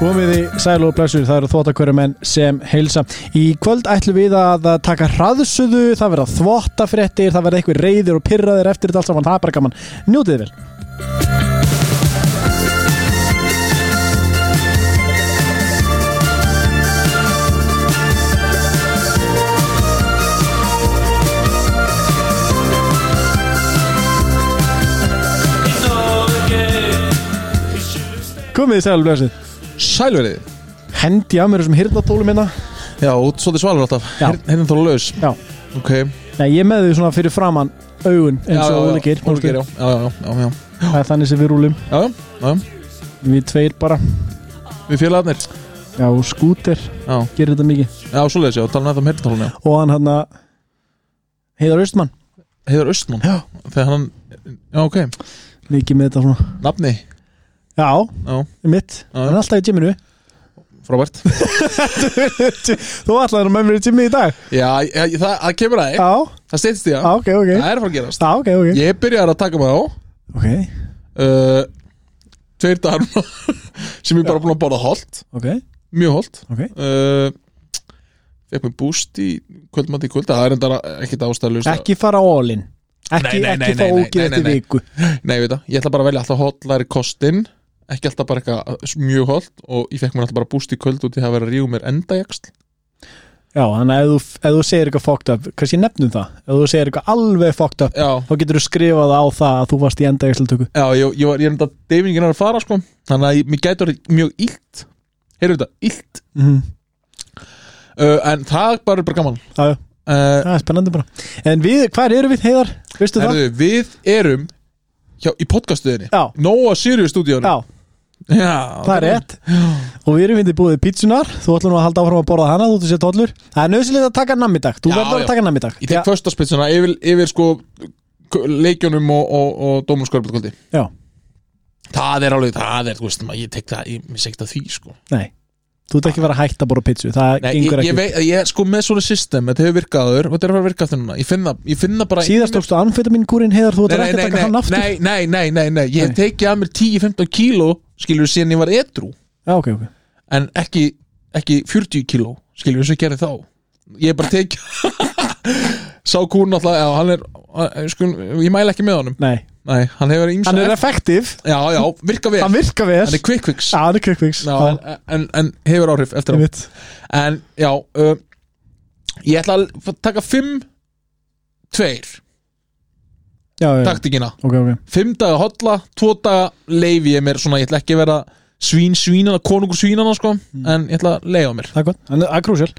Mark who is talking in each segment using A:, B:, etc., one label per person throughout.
A: Komiði sæl og blessur, það eru þvóttakverju menn sem heilsa. Í kvöld ætlum við að að taka hraðsöðu, það verða þvóttafréttir, það verða eitthvað reyðir og pirraðir eftir þetta allt saman, það er bara gaman. Njótið þið vel. Komiði sæl og blessur.
B: Sælverið
A: Hendi af mér þessum hirðatólum hérna.
B: Já, út svolítið svalur alltaf
A: Já.
B: Hérna þá laus
A: Já.
B: Ok
A: Nei, ég er með því svona fyrir framann augun eins og óleikir.
B: Ólegir, já, já, já, já, já,
A: Það er þannig sem við rúlum.
B: já, já, já.
A: Við tveir bara.
B: Við félagarnir
A: Já, skúter
B: Já,
A: gerir þetta mikið.
B: já, svoleiðis, já, tala með það um heyrnartólun, já
A: Og hann hann að Heiðar Östmann,
B: Heiðar Östmann
A: Já.
B: Þegar hann, já, ok
A: líkið með þetta svona.
B: Nafni,
A: Já,
B: já,
A: mitt.
B: Já.
A: Hann er alltaf í gyminu.
B: frábært
A: Þú ætlaði að með mér í tími í dag
B: Já, ég, það, það kemur aðeins
A: Já,
B: Það steytist í
A: já,
B: það
A: ok, ok
B: Það er að fara að gerast
A: Já, ok, ok
B: Ég byrjar að taka maður á
A: Ok,
B: uh, Tveir dagar núna, Sem ég bara búin að borða holt
A: ok,
B: Mjög holt
A: ok
B: uh, Fekk mér búst í kvöldmatt í kvöld Það er enda ekkit ástæðlust
A: Ekki fara all in Ekki,
B: Nei, nei, nei,
A: ekki fá
B: nei, nei,
A: ógið
B: nei,
A: eftir
B: nei.
A: viku
B: Nei, ég veit það, ég ætla bara að velja alltaf hotlari kostinn ekki alltaf bara eitthvað uh, mjög hotl og ég fekk mér alltaf bara búst í kvöld út í að vera að ríu mér endajaksl
A: Já, þannig að ef þú, ef þú segir eitthvað fucked up Hversu ég nefnum það? Ef þú segir eitthvað alveg fucked up
B: Já,
A: Þá getur þú skrifað á það að þú varst í enda yksiltöku
B: já, ég, ég var, ég er enda deyfingin er að fara sko, þannig að ég, mér gætur mjög illt, heyrðu þetta, illt
A: mm.
B: uh, en það er bara, bara gaman
A: Já, já,
B: uh,
A: það er spennandi bara En við, hvar eru við, Heiðar? Veistu það?
B: Herðu, við erum hjá, í podcastuðinni
A: Já,
B: Nóa Sirius stúdíónu
A: já,
B: Já,
A: það er rétt Og við erum hérna hindi búið pítsunar Þú ætlum nú að halda áfram að borða hana, þú þú sér tóllur Það er nöðsilegt að taka namm í dag Þú
B: Já,
A: verður
B: já.
A: að taka namm í dag
B: Ég
A: Því
B: tek
A: að-
B: föstaspitsuna yfir, yfir sko k- leikjunum og, og, og dómunskörflakvöldi
A: Já.
B: Það er alveg, það er, þú veist, maður, ég tek það, ég missi ekkert að því, sko.
A: Nei, þú ert ekki verið að hætta að borða pítsu Það
B: Nei, ég,
A: gengur
B: ég
A: ekki
B: veit, ég, sko, með svona system, þetta hefur virkað aður, þetta er að fara að virka aftur núna, ég finn það, ég finn það bara...
A: Síðast tókstu anfetaminkúrin heiðar Þú
B: nei,
A: ætlar ekki að
B: nei, nei,
A: taka
B: nei,
A: hann aftur
B: nei, nei, nei, nei, nei, ég
A: Nei.
B: tekið að mér 10-15 kíló, skilur, síðan ég var edru,
A: Já, ok, ok
B: en ekki, ekki 40 kíló, skilur, sem ég gerði þá. Ég er bara tekið, sá kún alltaf, já, hann er, hann- sko, ég mæla ekki með honum,
A: Nei,
B: nei, hann hefur ýmsa...
A: hann er effektiv
B: Já, já, virka vel,
A: Hann Ah. virka vel
B: hann er quick fix,
A: Já, hann er kvikviks
B: já, en, en, en hefur áhrif eftir á. En já uh, Ég ætla að f- taka 5 2
A: Já, já,
B: taktikina
A: ok, ok
B: 5 daga hotla, 2 daga leifi ég mér svona, ég ætla ekki að vera svín svínana, konungur svínana sko
A: Mm.
B: en ég ætla að leifa mér
A: Það er gott, Hann er- það er krúsjál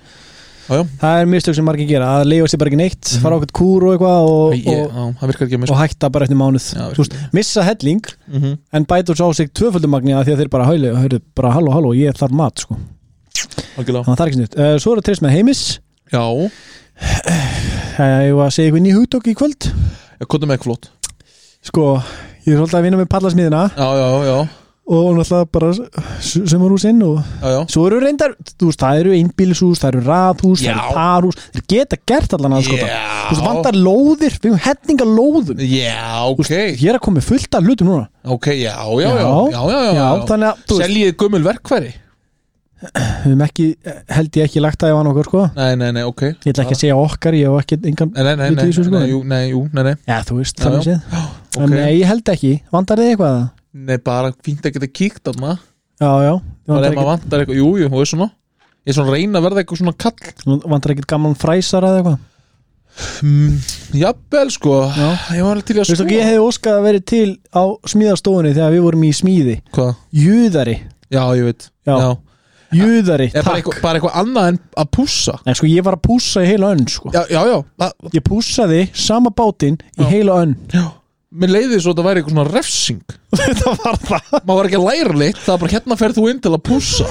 B: Já, já.
A: Það er mistök sem margir gera Að leifa sér bara ekki neitt Fara okkur kúr og eitthvað og,
B: ég,
A: og,
B: á, Það virkar ekki að mér
A: og hætta bara eftir mánuð
B: Já,
A: Þú veist, Missa helling
B: mm -hmm.
A: En bætur svo á sig tvöföldumagni Því að þeir bara hælu Hörðu, bara halló, halló Ég þarf mat, sko Þannig að það er ekki snitt uh, Svo er að trist með heimis
B: Já,
A: uh, Ég var að segja eitthvað ný hugtök í kvöld
B: ég kóta með ekki flott
A: Sko, ég er svolítið að vinna með pallasmiðina
B: Já, já, já,
A: og náttúrulega bara sumarhúsinn og
B: já, já.
A: svo eru reyndar, þú veist, það eru einbílishús, það eru rathús, það
B: Já.
A: eru parhús þeir geta gert allan aðskota
B: Já.
A: þú veist, vantar lóðir, við hefum hetninga lóðum
B: Já, ok,
A: ég er að koma með fullt af hlutum núna
B: ok, já, já, já, já, já, já, já.
A: þannig að, þú veist,
B: Seljið gömul verkfæri?
A: við höfum ekki held ég ekki lagt að ég vann okkur, sko
B: Nei, nei, nei, ok
A: ég ætla ekki að segja okkar, ég hef ekki engan,
B: Nei, nei, nei,
A: Vitið
B: nei,
A: í þessu, sko?
B: nei, jú, nei, jú, nei, nei
A: já, þú veist,
B: Já,
A: þannig
B: já.
A: séð
B: ok.
A: en nei, ég held ekki, vandar þið eitthvað að það?
B: Nei, bara fínt að geta kíkt þarna
A: já, já,
B: Það er
A: vandar
B: ef maður vantar eitthvað, jú, jú, þú veist svona Ég er svona að reyna að verða eitthvað svona kall
A: ekkit, vandar ekkit gamlan fræsar eða eitthvað
B: mm, Jafnvel, sko
A: Já.
B: Ég var alveg til í að
A: Veistu
B: sko
A: ekki, ég hefði óskað að verið til á smíðastofunni þegar við vorum í smíði
B: Hvað?
A: Júðari,
B: Já, ég veit
A: Já. júðari,
B: Ég, bara,
A: takk
B: eitthvað, bara eitthvað annað en að pússa
A: Nei, sko, ég var að pússa í heila önn, sko
B: Já, já, já það,
A: Ég pússaði sama bátinn í
B: Já.
A: heila önn
B: Mér leiði svo að það væri eitthvað svona refsing
A: Þetta var það
B: Maður var ekki að læra leitt Það er bara hérna ferð þú inn til að pússa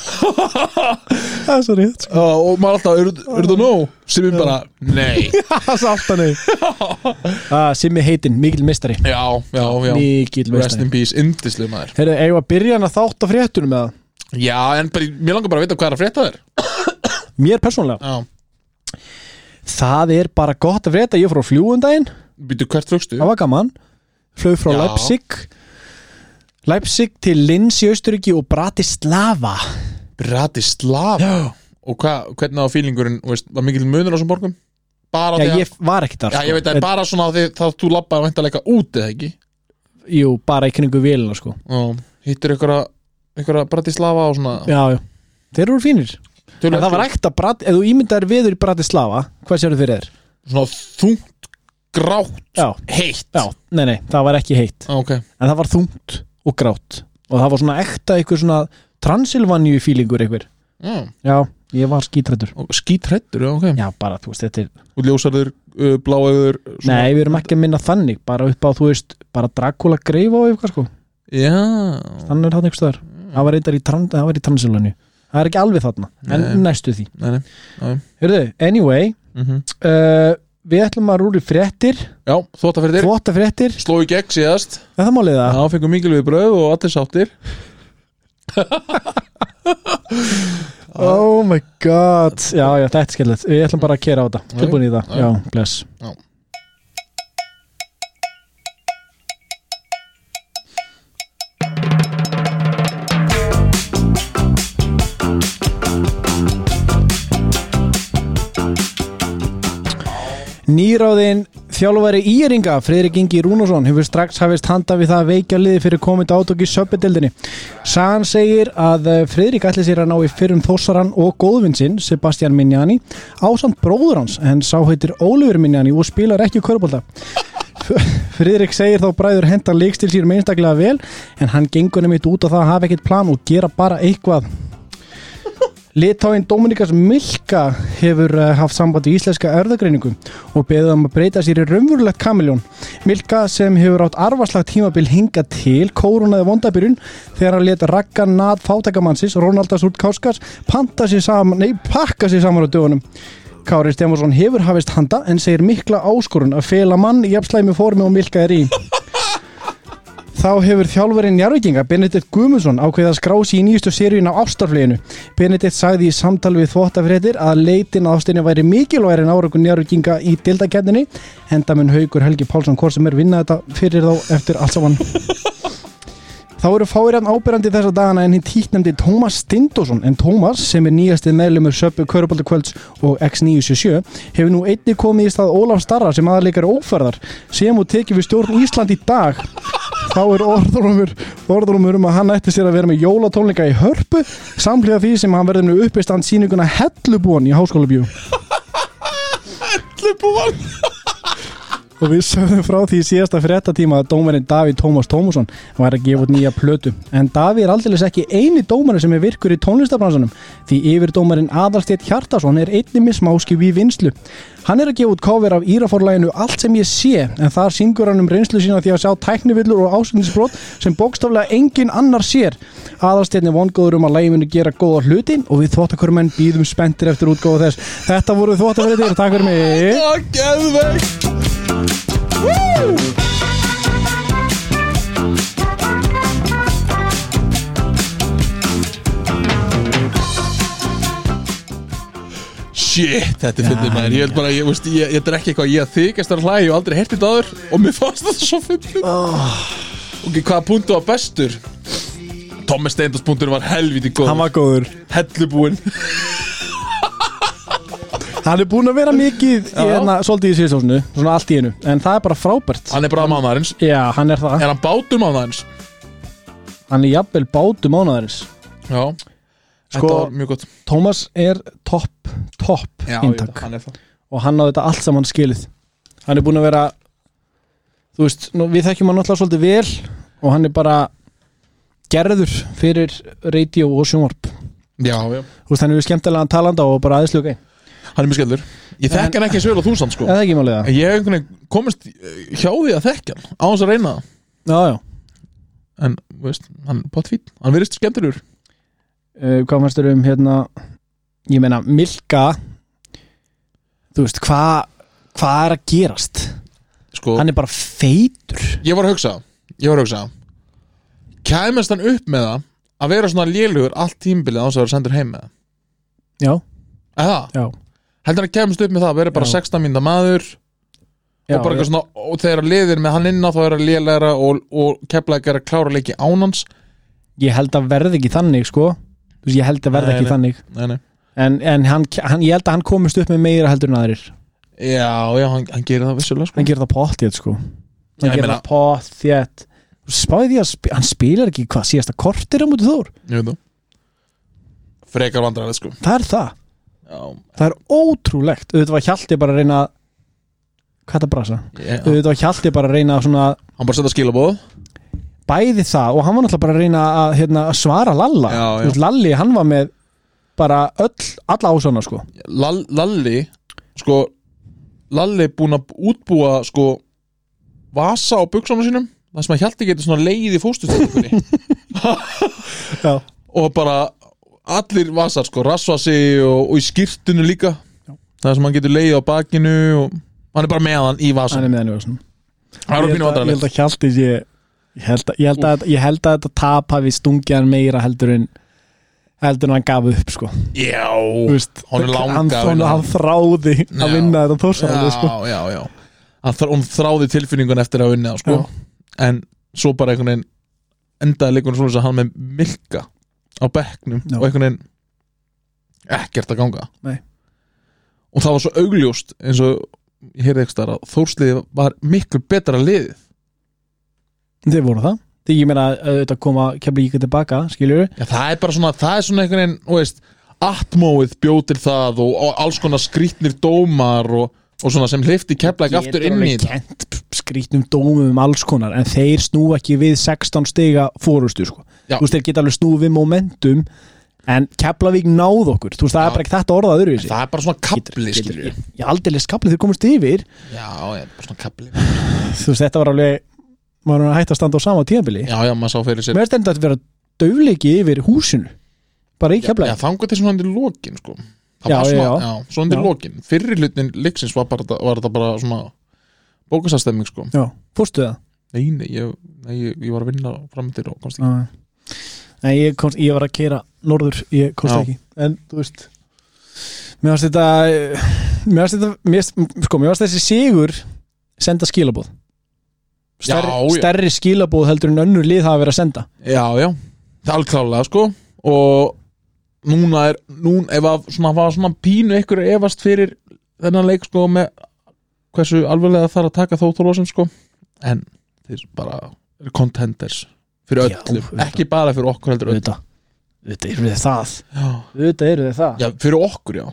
A: Það er svo rétt, sko
B: Já, Og maður alltaf, eru er það nóg? Sem ég bara, nei
A: Það er svo aftan þau ah, Simmi heitinn, mikil mistari
B: Já, já, já
A: Mikil
B: Rest
A: mistari
B: in peace, indislega maður
A: Heyrðu, eigum við að byrja hann að þátt á fréttunum með það
B: Já, en bara, mér langar bara að vita hvað er að frétta þér
A: Mér persónlega
B: Já
A: Það er bara gott að frétta, ég fór á fljúgundaginn
B: Býtu hvert flugstu?
A: Það var gaman Flög frá
B: Já.
A: Leipzig Leipzig til Linz í Austuríki og Bratislava
B: Bratislava
A: Já,
B: og hva, hvernig á fílingurinn þú veist, var mikill munur á þessum borgum bara
A: já
B: því að
A: ég var ekki þar sko.
B: já, ég veit að
A: En-
B: bara svona því þá þú labbaði væntalega út eða ekki
A: Jú, bara í kringu vélina sko
B: og hittir ykkur að ykkur að Bratislava og svona
A: Já, já, þeir eru fínir En
B: Töluvert
A: það var ekta, Brat- ef þú ímyndaðir veður í Bratislava Hvað sérðu fyrir þér?
B: svona þungt grátt
A: Já,
B: heitt
A: já, nei, nei, það var ekki heitt
B: Ah, ok
A: En það var þungt og grátt Og það var svona ekta eitthvað svona Transilvaníu fílingur eitthvað
B: Já,
A: Já, ég var skítrættur
B: og skítrættur, já, ok
A: Já, bara, þú veist, þetta er
B: og ljósarður, uh, bláauður svona-
A: Nei, við erum ekki að minna þannig Bara upp á, þú veist, bara Dracula greif á eitthvað sko
B: já,
A: Þannig er það einhvers staðar
B: Mm.
A: Það var reyndar í, tran, það var í Transilvaníu Það er ekki alveg þarna, en
B: Nei.
A: næstu því
B: nei, nei
A: Hörðu, anyway
B: mm
A: uh, Við ætlum að rúli fréttir
B: já, þótt að fyrir þér
A: Þvóta fréttir,
B: sló í gegn síðast,
A: er það málið það?
B: þá fengum mikil við bröð og allir sáttir
A: Oh my god Já, já, þetta er skellilegt, við ætlum bara að kera á þetta Tilbúin í það,
B: já.
A: já, bless Nýráðin þjálfari Íringa, Friðrik Ingi Rúnarsson, hefur strax hafist handa við það að veikja liði fyrir komandi átök í söpbedeldinni. Sagan segir að eh, Friðrik ætli sér að ná í fyrrum þossaran og góðvinn sinn, Sebastian Minjani, ásamt bróður hans, en sá heitir Ólifur Minjani og spilar ekki körbólta. Friðrik segir þá bræður henda leikstil sér einstaklega vel, en hann gengur nemitt út á það að hafa ekkert plan og gera bara eitthvað. Litáin Dominikas Milka hefur eh, haft samband í íslenska erðagreiningu og beðið um að breyta sér í raunverulegt kamiljón. Milka sem hefur átt arvarslagt tímabil hinga til kórunaði vondabyrjun þegar hann leta rakka nad fátækamannsins Rónaldas út Káskas panta sér saman, nei pakka sér saman á dögunum. Kári Stefánsson hefur hafist handa en segir mikla áskorun að fela mann í jafnslæmi formi og Milka er í. Þá hefur þjálfarinn Njarvíkinga Benedikt Guðmundsson ákveða að skrá sig í nýjustu seríun á ástarfleginu. Benedikt sagði í samtal við þvóttafréttir að leitin að ástinni væri mikilværi en áraukun Njarvíkinga í dildakendinni en það mun haugur Helgi Pálsson hvort sem er vinna þetta fyrir þá eftir allt saman. Þá eru fáirjarn ábyrjandi þessa dagana en hinn tíknemdi Tómas Stindósson en Tómas sem er nýjastið meðlumur Söpbu Körbaldakvölds og X977 hefur nú einni komið í stað Ólaf Starra sem aðarleikar óferðar sem og tekið við stjórn Ísland í dag þá er orðrumur, orðrumur um að hann ætti sér að vera með jólatónleika í hörpu samlega því sem hann verður með uppistand síninguna Hellubúan í Háskóla Bjú
B: Búan.
A: og við sögðum frá því í síðasta fréttatíma að dómarinn Davíð Tómas Tómasson var að gefa út nýja plötu en Davíð er aldrei ekki eini dómarinn sem er virkur í tónlistabransanum því yfir dómarinn Aðalstét Hjartason er einnig með smáskip í vinslu hann er að gefa út cover af Íraforlæginu Allt sem ég sé en þar syngur hann um reynslu sína því að sjá tæknivillur og ásynningsbrot sem bókstaflega engin annar sér Aðalstét er vongóður um að læginu gera góða hluti og við þvóttakurumenn býðum spenntir eftir útgóða þess Þetta voru þvóttafréttir, takk fyrir mig
B: Já, geðveikt Shit, þetta er fyndið maður Ég held bara, ég veist, ég, ég drekki eitthvað Ég þykast að hlæja, ég hef aldrei herti þetta áður Og mér fannst þetta svo fyndið
A: Ah.
B: Ok, hvaða punktu var bestur? Thomas Steindors punktur var helviti góð
A: Hann var góður
B: hellubúinn
A: Hann er búinn að vera mikið hérna, svolítið í síðsósnu, svona allt í einu en það er bara frábært
B: Hann er bara mánaðarins
A: Já, hann er það,
B: Er hann bátur mánaðarins?
A: hann er jafnvel bátu mánuðarins
B: Já
A: Sko-
B: Þetta var mjög gott
A: Tómas er topp, topp inntak
B: hann er það
A: og hann á þetta allt saman skilið Hann er búinn að vera þú veist, nú, við þekkjum hann náttúrulega svolítið vel og hann er bara gerður fyrir radio og sjónvarp
B: Já, já
A: Þú veist, hann er við skemmtilegan talanda og bara aðeinslega
B: Hann er mjög skellur Ég þekk hann ekki eins vel og þú samt sko
A: Eða ekki málega
B: En ég hef einhvern veginn komist eh, hjá því að þekka hann Á hans að reyna það
A: Já, já,
B: En, þú veist, hann er pottfýtt Hann verðist skemmtilegur
A: uh, hvað fannst þér um hérna ég meina Milka þú veist hvað hvað er að gerast
B: Sko,
A: hann er bara feitur
B: ég var að hugsa Ég var að hugsa Kæmest hann upp með það Að vera svona lélugur allt tímbilið Á hans að vera sendur heim með það
A: já,
B: Eða,
A: já,
B: heldur hann að kæmast upp með það Að vera bara
A: Já.
B: 16 mínda maður
A: Já,
B: og bara
A: já.
B: eitthvað svona, og þegar liðir með hann inn á þá er að lélæra og, og keflaðið er að klára leiki án hans
A: ég held að verði ekki þannig sko Þú veist, ég held að verði
B: Nei,
A: ekki
B: nei.
A: þannig
B: nei, nei.
A: en, en hann, hann, ég held að hann komist upp með meira heldur en aðrir
B: Já, já, hann, hann gerir það vissulega sko.
A: hann gerir það pottjétt sko
B: Já,
A: hann
B: ég
A: gerir
B: meina-
A: það pottjétt spáði því að sp hann spilar ekki hvað síðasta kortir á mútið þór,
B: Ég veit það Frekar vandræðið sko
A: það er það
B: Já,
A: það er ótrúlegt, auðvitað var Hjalti bara að reyna að- hvað er það að brasa
B: ég,
A: auðvitað var Hjalti bara að reyna að svona
B: Hann bara setja skilabóð
A: bæði það og hann var náttúrulega bara að reyna að, hérna, að svara Lalla
B: Já, já.
A: Þú veist, Lalli hann var með bara öll, alla ásana sko
B: Lall, Lalli Sko Lalli er búinn að útbúa sko Vasa á buksónu sínum Það sem að Hjalti getur svona leið í fóstustöðinni
A: já.
B: Og bara Allir vasar sko Rassvasi og, og í skýrtinu líka
A: Já.
B: Það sem hann getur leið á bakinu og, Hann er bara með hann í
A: hann
B: vasan
A: er með henni svona
B: Það er
A: ég
B: pínu
A: held að, ég held
B: vandræðið
A: að Hjalti sé ég held að, ég held að, ég held að þetta tap hafi stungið hann meira heldur en heldur en hann gaf upp sko
B: Já
A: Þú veist,
B: honum langaði
A: hann,
B: að
A: hann,
B: vinna.
A: hann þráði
B: Já.
A: að vinna þetta þórsaralið sko
B: já, já, já hann þr hún þráði tilfinningun eftir að vinna sko. en svo bara einhvern veginn endaði leikunum svona þess að hann með milka á bekknum
A: Já.
B: og einhvern veginn ekkert að ganga
A: Nei.
B: og það var svo augljóst eins og ég heyrði ekki starf að Þórsliði var miklu betra liðið
A: þeir voru það því ég meina auðvitað koma kemur líka tilbaka skiljur
B: Já, það er bara svona, það er svona einhvern veginn, þú veist, atmóið bjótir það og, og alls konar skrýtnir dómar og, og svona sem hlifti keflæk aftur inn í það.
A: kent skrítnum dómum um alls konar en þeir snúa ekki við 16 stiga fórustu sko
B: Já.
A: þú veist þeir geta alveg snúið við momentum en Keflavík náð okkur þú veist það
B: Já.
A: er bara ekki þetta orðað öðru
B: Það er bara svona kapli, skilur
A: ég, ég aldrei leist kaplið þeir komast yfir
B: Já, já, bara svona kapli
A: þú veist þetta var alveg maður var að hætta að standa á sama tíðanbili
B: Já, já, maður sá fyrir sér
A: mér er þetta að vera döfleiki yfir húsinu bara í
B: Já,
A: Keflavík
B: þangur til svona undir lokin, sko
A: Já,
B: Það var svona,
A: já,
B: já, svona undir
A: Já.
B: lokin Fyrri hlutin leiksins var bara, var það bara svona bókastarstemming, sko
A: já, fórstu það
B: Nei, nei, ég, nei, ég, ég var að vinna framöndir og komst ekki
A: Já. Nei, ég, komst, ég var að keira norður, ég komst
B: Já.
A: ekki en þú veist mér varst þetta eh, mér varst, þetta, mér, varst- sko, mér varst þessi sigur senda skilabóð stærri,
B: Já, já.
A: stærri skilabóð heldur en önnur lið hafa verið að senda
B: Já, já, það er allklálega, sko Og núna er, núna, ef að svona var svona pínu ykkur efast fyrir þennan leik, sko, með hversu alveglega það er að taka þóttólosin, sko En þeir bara eru contenders fyrir
A: Já,
B: öllum,
A: auðvitað.
B: ekki bara fyrir okkur heldur öll
A: auðvitað, auðvitað eru þið það
B: Já,
A: auðvitað eru þið það
B: Já, fyrir okkur, já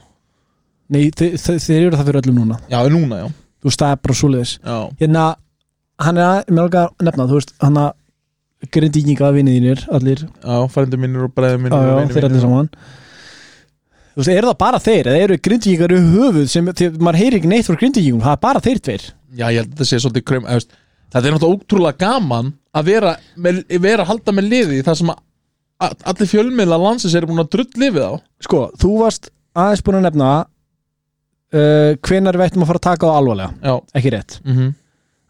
A: Nei, þe þe þeir eru það fyrir öllum núna
B: Já, en núna, já
A: þú veist, það er bara svoleiðis
B: Já,
A: hérna, hann er að, mér langar að nefna þú veist, hann að grindíkinga vinið þínir, allir
B: já færindu mínir og bræði mínir
A: já,
B: og
A: já,
B: vinir
A: þeir allir
B: mínir.
A: saman Þú veist, eru það bara þeir eða eru grindvíkingar í höfuð sem því, að maður heyri ekki neitt frá grindvíkingum, það er bara þeir tveir
B: Já, ég held að þetta sé svolítið krum eða, veist, Þetta er náttúrulega ótrúlega gaman að vera, með, vera að halda með liði þar sem að a- allir fjölmiðla landsins eru búin að drull lifið á
A: Sko, þú varst aðeins búin að nefna uh, hvenar við ættum að fara að taka á alvarlega
B: Já,
A: ekki rétt,
B: mm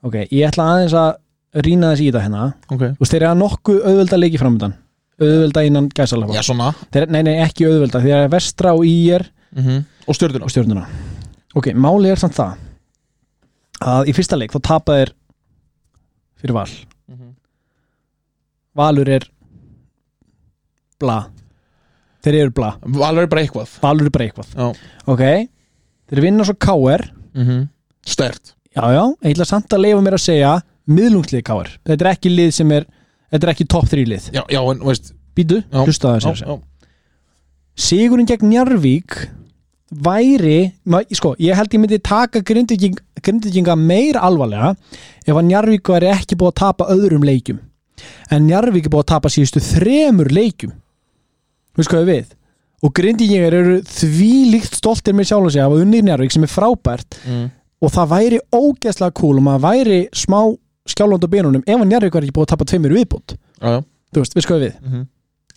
A: ok, ég ætla aðeins að rýna þess í það hérna
B: ok
A: Þú veist, þeir eru að nokkuð auðvelda leiki framöndan auðvelda innan
B: Já,
A: gæsalapa
B: svona
A: þeir, Nei, nei, ekki auðvelda, þeir eru að vestra og ír
B: mm Og stjörnuna
A: og stjórnuna Ok, máli er samt það að í fyrsta leik þá tapa þeir fyrir val
B: Mhm.
A: Valur er bla þeir eru bla,
B: Alveg er bara eitthvað
A: Valur er bara eitthvað
B: Já,
A: ok, þeir vinna svo KR
B: mm stert
A: já já, ég ætla samt að leifa mér að segja miðlungslið KR, þetta er ekki lið sem er þetta er ekki top 3 lið
B: Já, já, en veist
A: býtu,
B: Já,
A: hlusta
B: já,
A: það
B: já,
A: sigurinn gegn Njarvík væri, ma- sko, ég held ég myndi taka grindvíking- grindvíkinga meira alvarlega ef að Njarvík væri ekki búið að tapa öðrum leikjum en Njarvík er búið að tapa síðustu þremur leikjum veist hvað ég við og grindvíkingar eru því líkt stoltir með sjálf og sig af að unni Njarvík sem er frábært
B: mm.
A: og það væri ógeðslega cool og maður væri smá skjálfand á benunum ef að Njarvík væri ekki búið að tapa tveimur í viðbútt
B: já, já.
A: þú veist, veist hvað ég við
B: Mhm.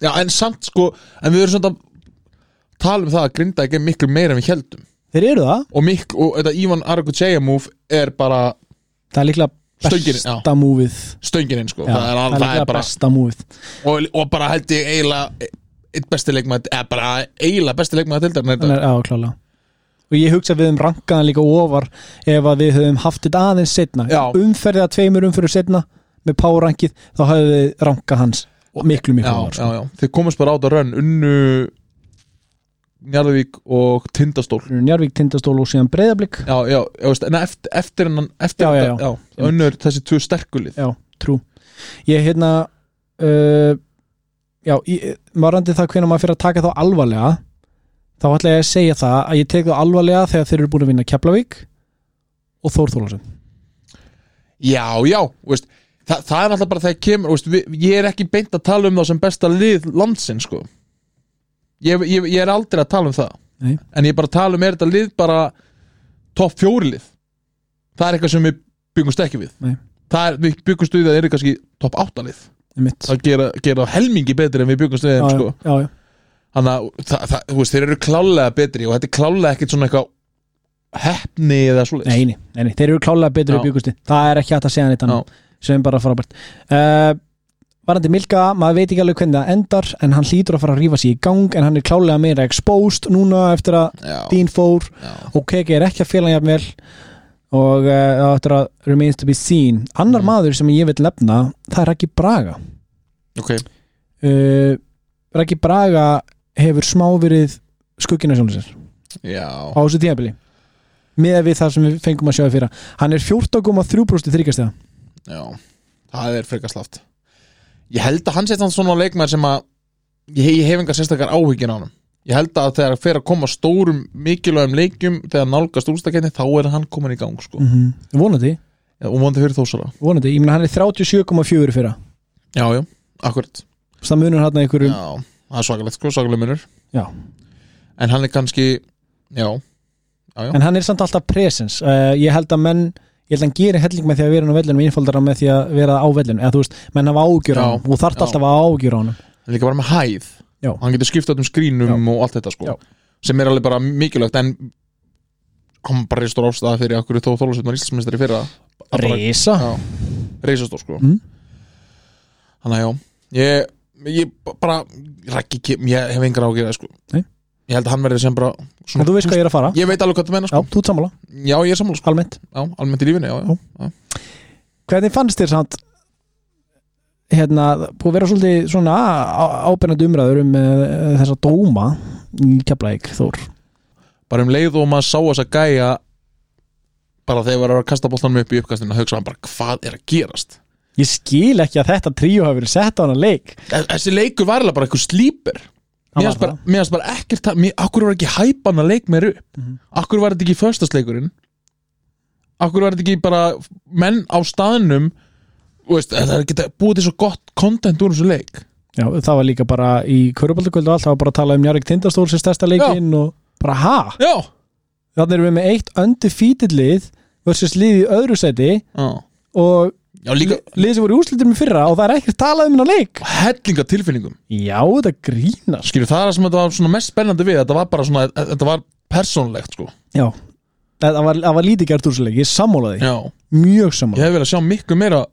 B: já, en samt sko En við erum svona að tala um það að grinda ekki miklu meira en við heldum
A: þeir eru það,
B: og Mikk og þetta Ivan Arakucheya move er bara
A: það er líklega
B: Stöngin, já.
A: besta múfið
B: stöngin sko.
A: Já,
B: það er, all, það er bara
A: besta múið
B: og, og bara held ég eiginlega eitt besti leikmaður eða bara eiginlega besti leikmaður til
A: hann
B: þetta
A: er áklálega og ég hugsa að við höfum rankaðan líka ofar ef að við höfum haft þetta aðeins setna
B: Já.
A: umferðið að tveimur umferðu setna með párrankið þá höfum við rankað hans miklu miklu
B: já,
A: ofar
B: já,
A: sko.
B: já. Þeir komast bara át að rönn Unnu Njarðvík og Tindastól
A: Njarvík tindastól og síðan breyðablík
B: Já, já, já veist, en eftir, eftir, en, eftir
A: Já, já, já.
B: þetta- já. Önnur þessi tvö sterkulið
A: já, trú ég hérna uh, já, ég- varandi það hvenær maður fyrir að taka þá alvarlega þá ætla ég að segja það að ég tek þá alvarlega þegar þeir eru búin að vinna Keflavík og Þór Þólasson
B: Já, já, veist Þa, það er alltaf bara þegar kemur veist, við, Ég er ekki beint að tala um það sem besta lið landsin sko. ég, ég, ég er aldrei að tala um það
A: Nei.
B: En ég er bara að tala um er þetta lið bara topp fjóri lið Það er eitthvað sem við byggumst ekki við
A: Nei.
B: Það er, við byggumst við að það eru kannski topp átta lið
A: Einmitt.
B: Það gera, gera þá helmingi betri en við byggumst við
A: já,
B: þeim
A: já,
B: sko.
A: já, já.
B: Þannig að það, það, þú veist, þeir eru klálega betri og þetta er klálega ekkert svona eitthvað heppni eða svoleiðis
A: Nei, nei, nei, nei, þeir eru klálega betri
B: Já.
A: í byggusti Það er ekki hægt að segja neitt annað sem bara frábært uh, Varandi Milka, maður veit ekki alveg hvernig það endar en hann hlýtur að fara að rífa sig í gang en hann er klálega meira exposed núna eftir að
B: Já,
A: Dean fór
B: já.
A: og KK er ekki að fela jafn vel og uh, það eftir að remains to be seen Annar
B: Mm.
A: maður sem ég vil lefna það er Raki Braga
B: ok
A: uh, Raki Braga hefur smá verið skuggina sjálfum sér
B: Já,
A: á þessu tíðabili með við það sem við fengum að sjá í fyrra hann er 14,3 brústi þryggjastega
B: já Það er frekar slátt Ég held að hann setja hann svona leikmæður sem að ég, ég hef engar sérstakar áhyggjur á hann Ég held að þegar hann fer að koma stórum mikilvægum leikjum, þegar nálgast úrstaketni þá er hann komin í gang sko
A: mm -hmm. vonandi,
B: Já, og vonandi fyrir þósala
A: vonandi, ég meina hann er 37,4 í fyrra,
B: Já, já, akkurat
A: Þess að munur hann að einhverjum
B: Já, það er svakalegt sko, svakaleg munur
A: Já.
B: En hann er kannski, já já.
A: en hann er samt alltaf presens uh, ég held að menn, ég held að hann gerir helling með því að vera hann á vellinu, innfaldara með því að vera á vellinu, eða þú veist, menn hafa ágjur á
B: Já,
A: hann og þarft
B: já.
A: alltaf að ágjur á hann
B: hann er líka bara með hæð
A: Já.
B: hann getur skiptað um skrínum og allt þetta sko
A: Já.
B: sem er alveg bara mikilvægt en kom bara reistur ástæða fyrir okkur þó þólusveit maður íslensmestari fyrir það
A: reysa,
B: Já. reisastór sko
A: Mm.
B: þannig að já ég, ég b- bara rækki kem ég hef engar ágjörða sko
A: Nei.
B: ég held að hann verði sem bara
A: en þú veist hvað ég er að fara
B: ég veit alveg hvað það menna
A: já,
B: sko já,
A: þú ert sammála,
B: ég er sammála sko
A: almennt
B: já, almennt í lífinu já, já. Já.
A: hvernig fannst þér samt hérna, búið að vera svolítið svona ábennandi umræður um uh, þessa dóma í Keflæk Þór
B: bara um leið og maður sá þess að gæja bara þegar var að kasta bóttanum upp í uppkastinu að hugsa hann bara hvað er að gerast
A: ég skil ekki að þetta tríu hafi verið sett á hann að leik
B: Þe- Þessi leikur var alveg bara eitthvað slíper
A: Hann
B: Mér
A: var
B: finnst bara, mér fannst bara ekkert að- mér- Akkur var ekki hæpan að leik mér upp
A: Mhm.
B: Akkur var þetta ekki föstasleikurinn Akkur var þetta ekki bara menn á staðnum þú veist, Það er geta búið til svo gott content úr þessu leik
A: Já, það var líka bara í Körubaldaköld og allt, það var bara að tala um Njarvík Tindastól sem stærsta leikinn og bara ha
B: Já,
A: þannig erum við með eitt undefeated lið versus lið í öðru seti
B: já,
A: og
B: já líka
A: li- lið sem voru í úslitum í fyrra og það er ekkert talað um hennar leik
B: hellinga tilfinningum
A: Já, þetta grínast
B: Skilju, það er það sem þetta var svona mest spennandi við Þetta var bara svona, e- þetta var persónlegt sko
A: Já, það var, það var lítið gert úr þessu leik, ég sammála því
B: Já,
A: mjög
B: ég
A: sammála,
B: hef vel að sjá miklu meira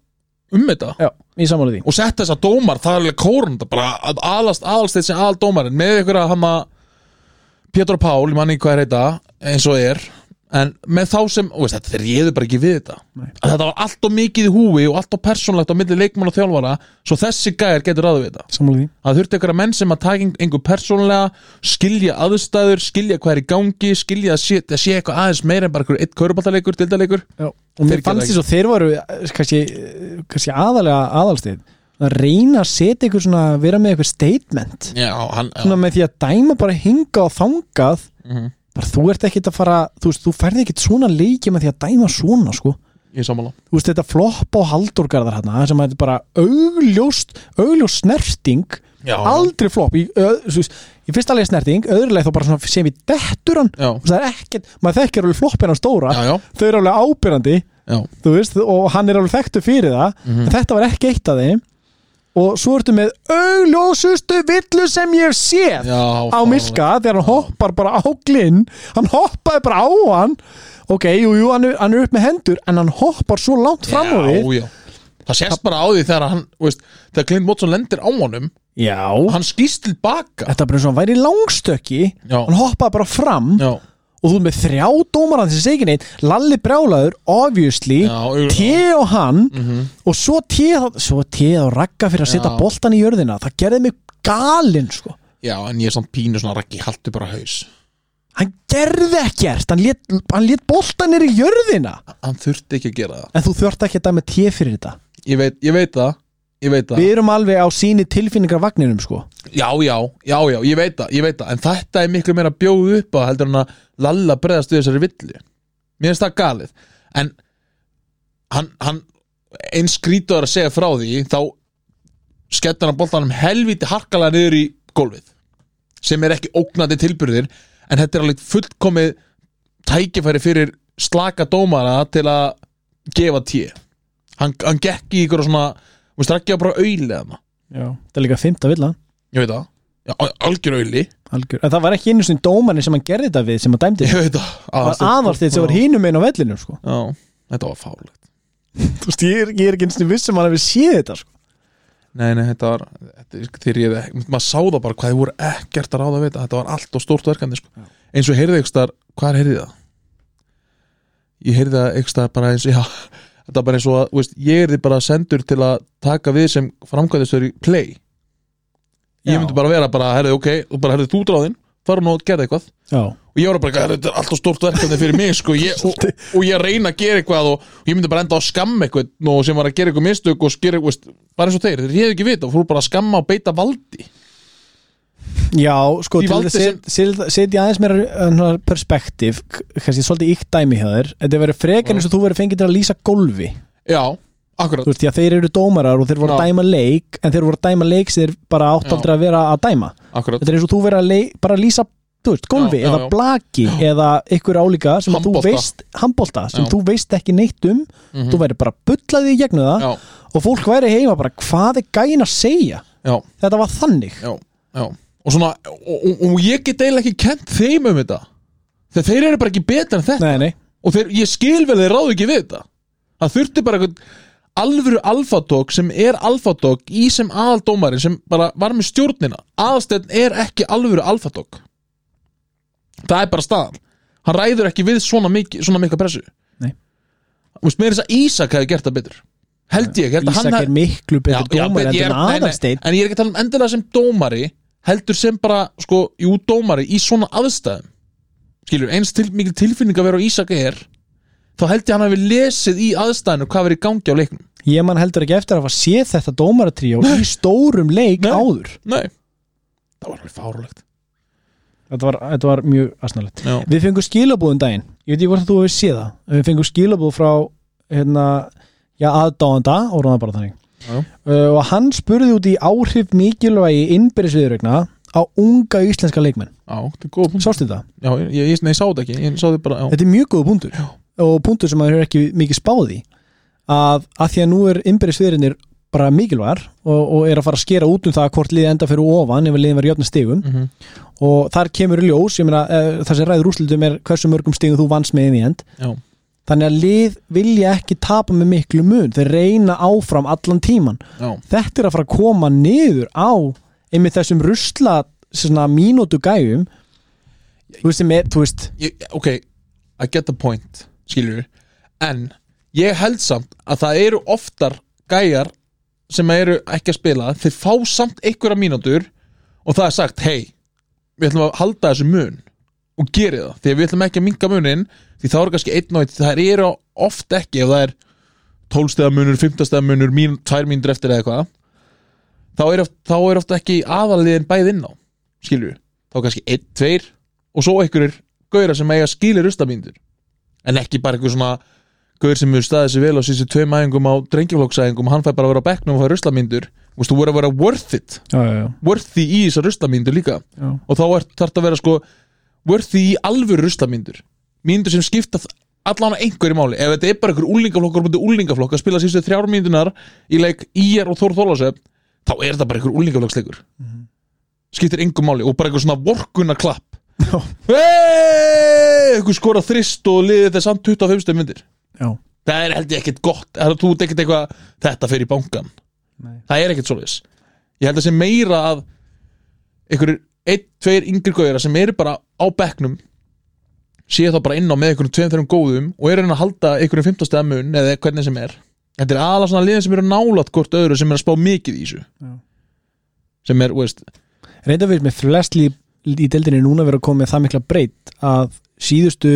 B: um þetta
A: já, ég sammála því
B: og sett þess að dómar, það er alveg kórunda bara að aðalast, aðalst þessi aðal dómarinn með ykkur að hann að Pétur og Pál, ég manni hvað er heita eins og er, en með þá sem og veist, þetta, þeir réðu bara ekki við þetta
A: Nei.
B: að þetta var allt og mikið í húi og allt og persónlegt á milli leikmann og þjálfara svo þessi gæjar getur ráðu við þetta
A: Sammála því,
B: það þurfti ykkur að menn sem að taka ein- einhver persónlega skilja aðstæður, skilja hvað er í gangi skilja að sé, að sé eitthvað aðeins meira en bara einhver eitt körubaltaleikur, dildaleikur
A: já og mér
B: geta
A: fannst
B: ekki.
A: þess að þeir voru eh, kannski, eh, kannski aðalega aðalstið að reyna að setja eitthvað svona vera með eitthvað statement
B: Já, hann, já.
A: svona með því að dæma bara hinga og þangað
B: Mhm.
A: bara þú ert ekkit að fara þú veist, þú ferði ekkit svona leiki með því að dæma svona sko,
B: ég er sammála
A: þú veist þetta flopp á haldurgarðar hérna, sem að þetta er bara augljóst, augljóst snerting
B: Já, já.
A: aldrei flopp í, ö- þú veist, í fyrsta leið snerting, öðrulega þá bara svona sem í dettur hann,
B: Já.
A: Þú veist, það er ekkit maður þekkir alveg floppin á stóra
B: Já, já.
A: þau eru alveg ábyrrandi
B: Já.
A: þú veist, og hann er alveg þekktu fyrir það
B: Mhm.
A: en þetta var ekki eitt af þeim og svo ertu með augljósustu villu sem ég hef séð
B: Já,
A: á
B: fáránlegt.
A: Milka þegar hann hoppar bara á glinn hann hoppaði bara á hann ok, jú, jú, hann er, hann er upp með hendur en hann hoppar svo langt fram á því
B: já, já. það sést bara á því þegar hann þú veist, þegar Clint Watson lendir á honum
A: já,
B: hann skýst til baka
A: þetta er bara eins og hann væri í langstökki
B: Já.
A: hann hoppaði bara fram
B: já,
A: og þú ert með þrjá dómarann sem segir ekki neitt Lalli Brjálaður, obviously
B: Já, augljóslega.
A: T og hann og svo T svo T og Ragga fyrir að setja
B: Já.
A: boltan í jörðina það gerði mig galinn sko
B: Já, en ég er samt pínu svona Raggi, haltu bara haus
A: hann gerði ekkert hann lét, hann lét boltan niður í jörðina
B: Hann þurfti ekki að gera það
A: en þú þurft ekki að dæma T fyrir þetta
B: Ég veit, ég veit það Ég veit það
A: við erum alveg á síni tilfinningar vagninum sko
B: Já, já, já, já, ég veit það, ég veit það En þetta er miklu meira bjóð upp á heldur hann að Lalla breðast við þessari villu Mér finnst það galið En hann, hann eins skrítur að segja frá því þá skettur hann boltanum helvíti harkalega niður í gólfið sem er ekki ógnandi tilbyrðir en þetta er alveg fullkomið tækifæri fyrir slaka dómara til að gefa tíu hann, hann gekk í ykkur svona þú veist, ekki að bara auðlega maður
A: Já. það er líka fymta villan
B: Ég veit það Já, al- Algjör auðli
A: Algjör. En það var ekki einu sinni dómanin sem hann gerði þetta við sem hann dæmdi
B: Ég veit það
A: Það var aðalstið sem var hínum einn á vellinum sko.
B: Já, þetta var fálegt
A: Þú veist, ég er, ég er ekki einu sinni viss sem hann hefur séð þetta sko.
B: Nei, nei, þetta var þetta, er- Þegar ég Maður sá það bara hvað þið voru ekkert að ráða við þetta Þetta var allt og stórt verkefni sko. Eins og heyrði ykkur star Hvar heyrði ég það? Ég heyrði það ykkur star bara eins Já, þetta var bara eins og að þú veist, Ég er því bara sendur til að taka við sem framkvæmðistur í play Ég
A: Já.
B: myndi bara vera bara Herði, ok, og bara herði þú dráðin Fara nú og gera eitthvað
A: Já,
B: og ég var bara, eitthvað, þetta er alltaf stórt verkefni fyrir mig sko, ég, og, og ég reyna að gera eitthvað og, og ég myndi bara enda á að skamma eitthvað nú, sem var að gera eitthvað mistök og skera eitthvað veist, bara eins og þeir, þeir hefðu ekki vita og fóru bara að skamma og beita valdi
A: Já sko,
B: Því
A: til
B: valdi
A: þess að setja set, aðeins meira eh, perspektíf, kannski svolítið ykt dæmi hjá þér, en það verið frekar eins og þú verið fengið til að lýsa gólfi
B: já,
A: þú
B: akkurat,
A: veist, því að þeir eru dómarar og þeir voru að
B: Já.
A: dæma leik, en þeir voru að dæma leik sem þeir bara átt
B: Já.
A: aldrei að vera að dæma
B: akkurat
A: Þetta er eins og þú verið að leik, bara að lýsa þú veist, gólfi
B: Já, já,
A: eða
B: já.
A: blaki eða ykkur álíka sem að þú
B: Handbolta.
A: veist handbolta, sem
B: Já. Mhm.
A: þú veist ekki neitt um þú væri bara bullaði í gegnum það
B: já,
A: og fólk væri heima bara hvað er gæin að segja
B: já,
A: þetta var þannig
B: já, já og svona, og, og, og ég get eiginlega ekki kent þeim um þetta þegar þeir eru bara ekki betra en þetta
A: nei, nei.
B: og þeir, ég skil vel þeir ráðu ekki við þetta það þurfti bara eitthvað alvöru alfatók sem er alfatók í sem aðaldómari sem bara var með stjórnina aðalstæðn er ekki alvöru alfatók það er bara staðan hann ræður ekki við svona, miki, svona mikla pressu
A: Nei.
B: Þú veist, mér er þess að Ísak hefði gert það betur held ég, ég held að
A: Ísak
B: hann
A: er miklu betur dómar
B: ég
A: en
B: er- nei, nei,
A: aðalsteinn
B: En ég er ekki að tala um endilega sem dómari heldur sem bara, sko, jú, dómari í svona aðstæðum skilur, eins til, mikil tilfinning að vera á Ísaka er þá held ég hann hafi lesið í aðstæðinu hvað verið í gangi á leiknum
A: ég man heldur ekki eftir að hafa séð þetta dómaratríó í stórum leik
B: Nei.
A: áður
B: Nei, það var alveg fárulegt
A: þetta var, þetta var mjög asnalegt
B: Já,
A: við fengum skilabúðum daginn ég veit ekki hvort þú hefur séð það við fengum skilabúð frá hérna, já, aðdáanda og ráða bara þannig
B: Já, já.
A: uh, og hann spurði út í áhrif mikilvægi innbyrðisviðurregna á unga íslenska leikmenn
B: já þetta er góð punkt
A: sástu þetta?
B: Já, ég, ég, nei, ég sá þetta ekki, ég sá þetta bara já.
A: þetta er mjög góða punktur og punktur sem maður er ekki mikið spáð í að, að því að nú er innbyrðisviðurinnir bara mikilvægar og, og er að fara að skera út um það hvort liðið enda fyrir ofan ef liðin verið jöfna stigum
B: Mhm.
A: og þar kemur í ljós, ég meina eh, það sem ræður úrslitum er hversu mörgum stigum þú vannst með inn í end
B: já,
A: þannig að lið vilja ekki tapa með miklu mun, þeir reyna áfram allan tíman,
B: já,
A: þetta er að fara að koma niður á einmitt þessum rusla svona mínútu gæjum þú veist, sem er, þú veist
B: ég, ok I get the point, skilur en ég held samt að það eru oftar gæjar sem eru ekki að spila þeir fá samt einhverja mínútur og það er sagt, hei við ætlum að halda þessu mun og geri það, því að við ætlum ekki að minga munin því það eru kannski einn og einn, það eru oft ekki ef það er 12 stegar munur, 15 stegar munur, mín, 2 mínútur eftir eða eitthvað þá er, oft, þá er oft ekki aðaliðin bæð inn á skilur, þá er kannski 1, 2 og svo einhverjir gauðra sem eiga skilir rustamíndur en ekki bara einhver svona gauður sem hefur staðið sér vel á síðan tveim æfingum á drengjaflokksæfingum, hann fær bara að vera á bekknum og fær rustamíndur, þú veist, þú voru að vera worth it
A: já, já, já,
B: worthy í þessar ruslamyndur líka
A: Já.
B: og þá er, þarf það að vera sko worthy í alvöru ruslamyndur myndur sem skipta þ- allan á einhverju máli ef þetta er bara einhver úlingaflokkur mútið úlingaflokk að spila sístu þrjár myndunar í leik IR og Þór Þólasöf þá er það bara einhver úlingaflokksleikur
A: Mhm.
B: skiptir einhver máli og bara einhver svona vorkunna klapp
A: Já.
B: Hey! einhver skora þrist og liðið þess samt 25 stöð myndir
A: já.
B: það er held ég ekkert gott það er þú ert ekkert eitthvað þetta fer í bankan
A: Nei.
B: það er ekkert svoleiðis ég held að sé meira að einhverjir einn, tveir yngri gauðra sem eru bara á bekknum sé þá bara inn á með einhvern tveim þeirrum góðum og er að reyna að halda einhvern 15 stæða mun eða hvernig sem er þetta er aðalega svona liðin sem eru nálat hvort öðru sem er að spá mikið í þessu
A: Já.
B: sem er, þú veist,
A: reynda fyrir með flest líf í deildinni núna verið að koma með það mikla breytt að síðustu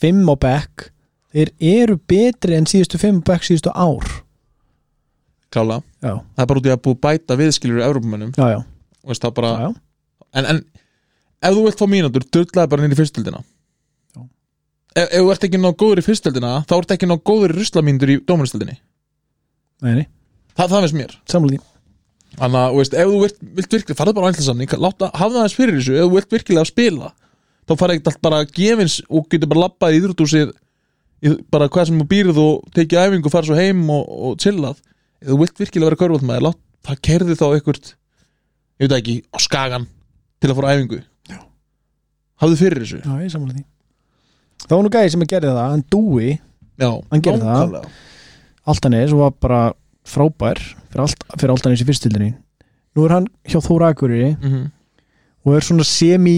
A: fimm á bekk þeir eru betri en síðustu fimm á bekk síðustu ár
B: klála
A: já,
B: það er bara út í að búið bæta viðskiljur Evrópumönnum,
A: já, já,
B: þú veist, það bara
A: já, já.
B: en, en ef þú vilt fá mínútur dörlaði bara nýri fyrstöldina
A: Já.
B: ef, ef þú ert ekki ná góður í fyrstöldina þá ert ekki ná góður í ruslamíndur í dómaristöldinni
A: Nei, nei,
B: það, það veist mér
A: samlega því
B: Þannig að, þú veist, ef þú vilt, vilt virkilega farðu bara á ætlasamning, láta, hafða aðeins fyrir þessu ef þú vilt virkilega að spila þá farið ekkert allt bara gefins og getur bara labbað í íþrótúsið í bara hvað sem þú býrð og tekið æfingu og farið svo heim og, og chillað ef þú vilt virkilega vera körfaldmaður, lát, það kerði þá einhvert, ég veit það ekki á skagan til að fara á æfingu Já. hafðu fyrir þessu
A: já, ég samlega því það var nú gæði sem að gerði það, hann dúi
B: Já,
A: Hann gerir það.
B: nákvæmlega.
A: Altanis og var bara frábær fyrir, allt, fyrir Altanis í fyrstildinni nú er hann hjá Þóra Akureyri
B: Mhm,
A: og er svona semi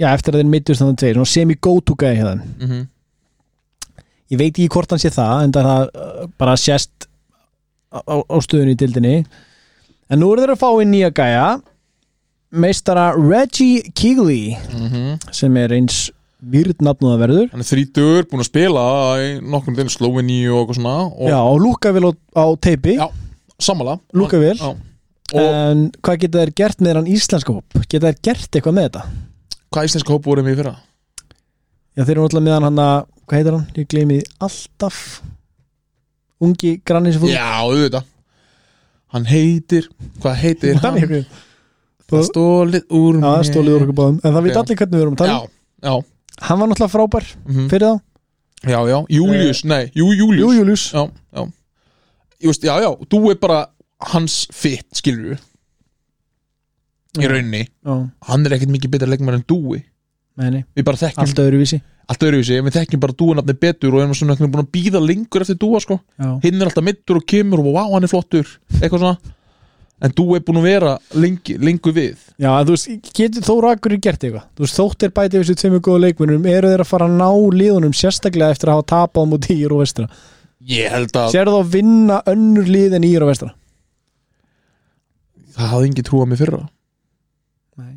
A: já, eftir að þeir mittust þannig að segja, svona semi go-to gæði hérna
B: mhm.
A: ég veit ekki hvort hann sé það en það uh, bara sést á, á á stöðunni í dildinni en nú eru þeir að fá inn nýja gæja meistara Reggie Kigley
B: Mhm.
A: sem er eins výrð nafn og það verður
B: Hann er þrítur, búin að spila í nokkrum til Sloveníu og eitthvað svona og
A: já, og lúka vel á, á teipi
B: Já. sammála
A: lúka vel
B: Já. og
A: en hvað geta þeir gert með hann íslenska hóp geta þeir gert eitthvað með þetta
B: hvað íslenska hóp vorum við í fyrra?
A: já, þeir eru alltaf með hann hann að hvað heitir hann, ég gleymi því alltaf ungi grannin sem fór
B: Já, auðvitað Hann heitir, hvað heitir hann? Það
A: það
B: stólið úr mér.
A: stólið úr okkur báðum en það veit
B: Já.
A: allir hvernig við erum að
B: Já,
A: tala um.
B: já,
A: hann var náttúrulega frábær
B: mhm.
A: fyrir þá
B: já, já, Július, nei, jú, Július
A: Jú, Eh, Július
B: Já, já Ég veist, já, já, þú er bara hans fitt, skilur við Í rauninni
A: Já,
B: Hann er ekkert mikið betra leikmar en dúi
A: nei, nei,
B: Við bara þekkjum
A: allt öðruvísi
B: allt öðruvísi Við þekkjum bara dúanafni betur og erum svona einhvern veginn búin að býða lengur eftir dúa, sko
A: Já,
B: hinn er alltaf mittur og kemur og vá, hann er flottur eitthvað svona en þú er búin að vera lengi, lengur við
A: Já en þú veist, getur þó rakur gert eitthvað Þú veist, þóttir bæti við þessu tveimur góða leikmunum eru þeir að fara að ná liðunum sérstaklega eftir að hafa tapað múti ír og vestra
B: ég held að
A: Sér þá að vinna önnur lið en ír og vestra
B: það hafði engin trúa mig fyrra
A: Nei.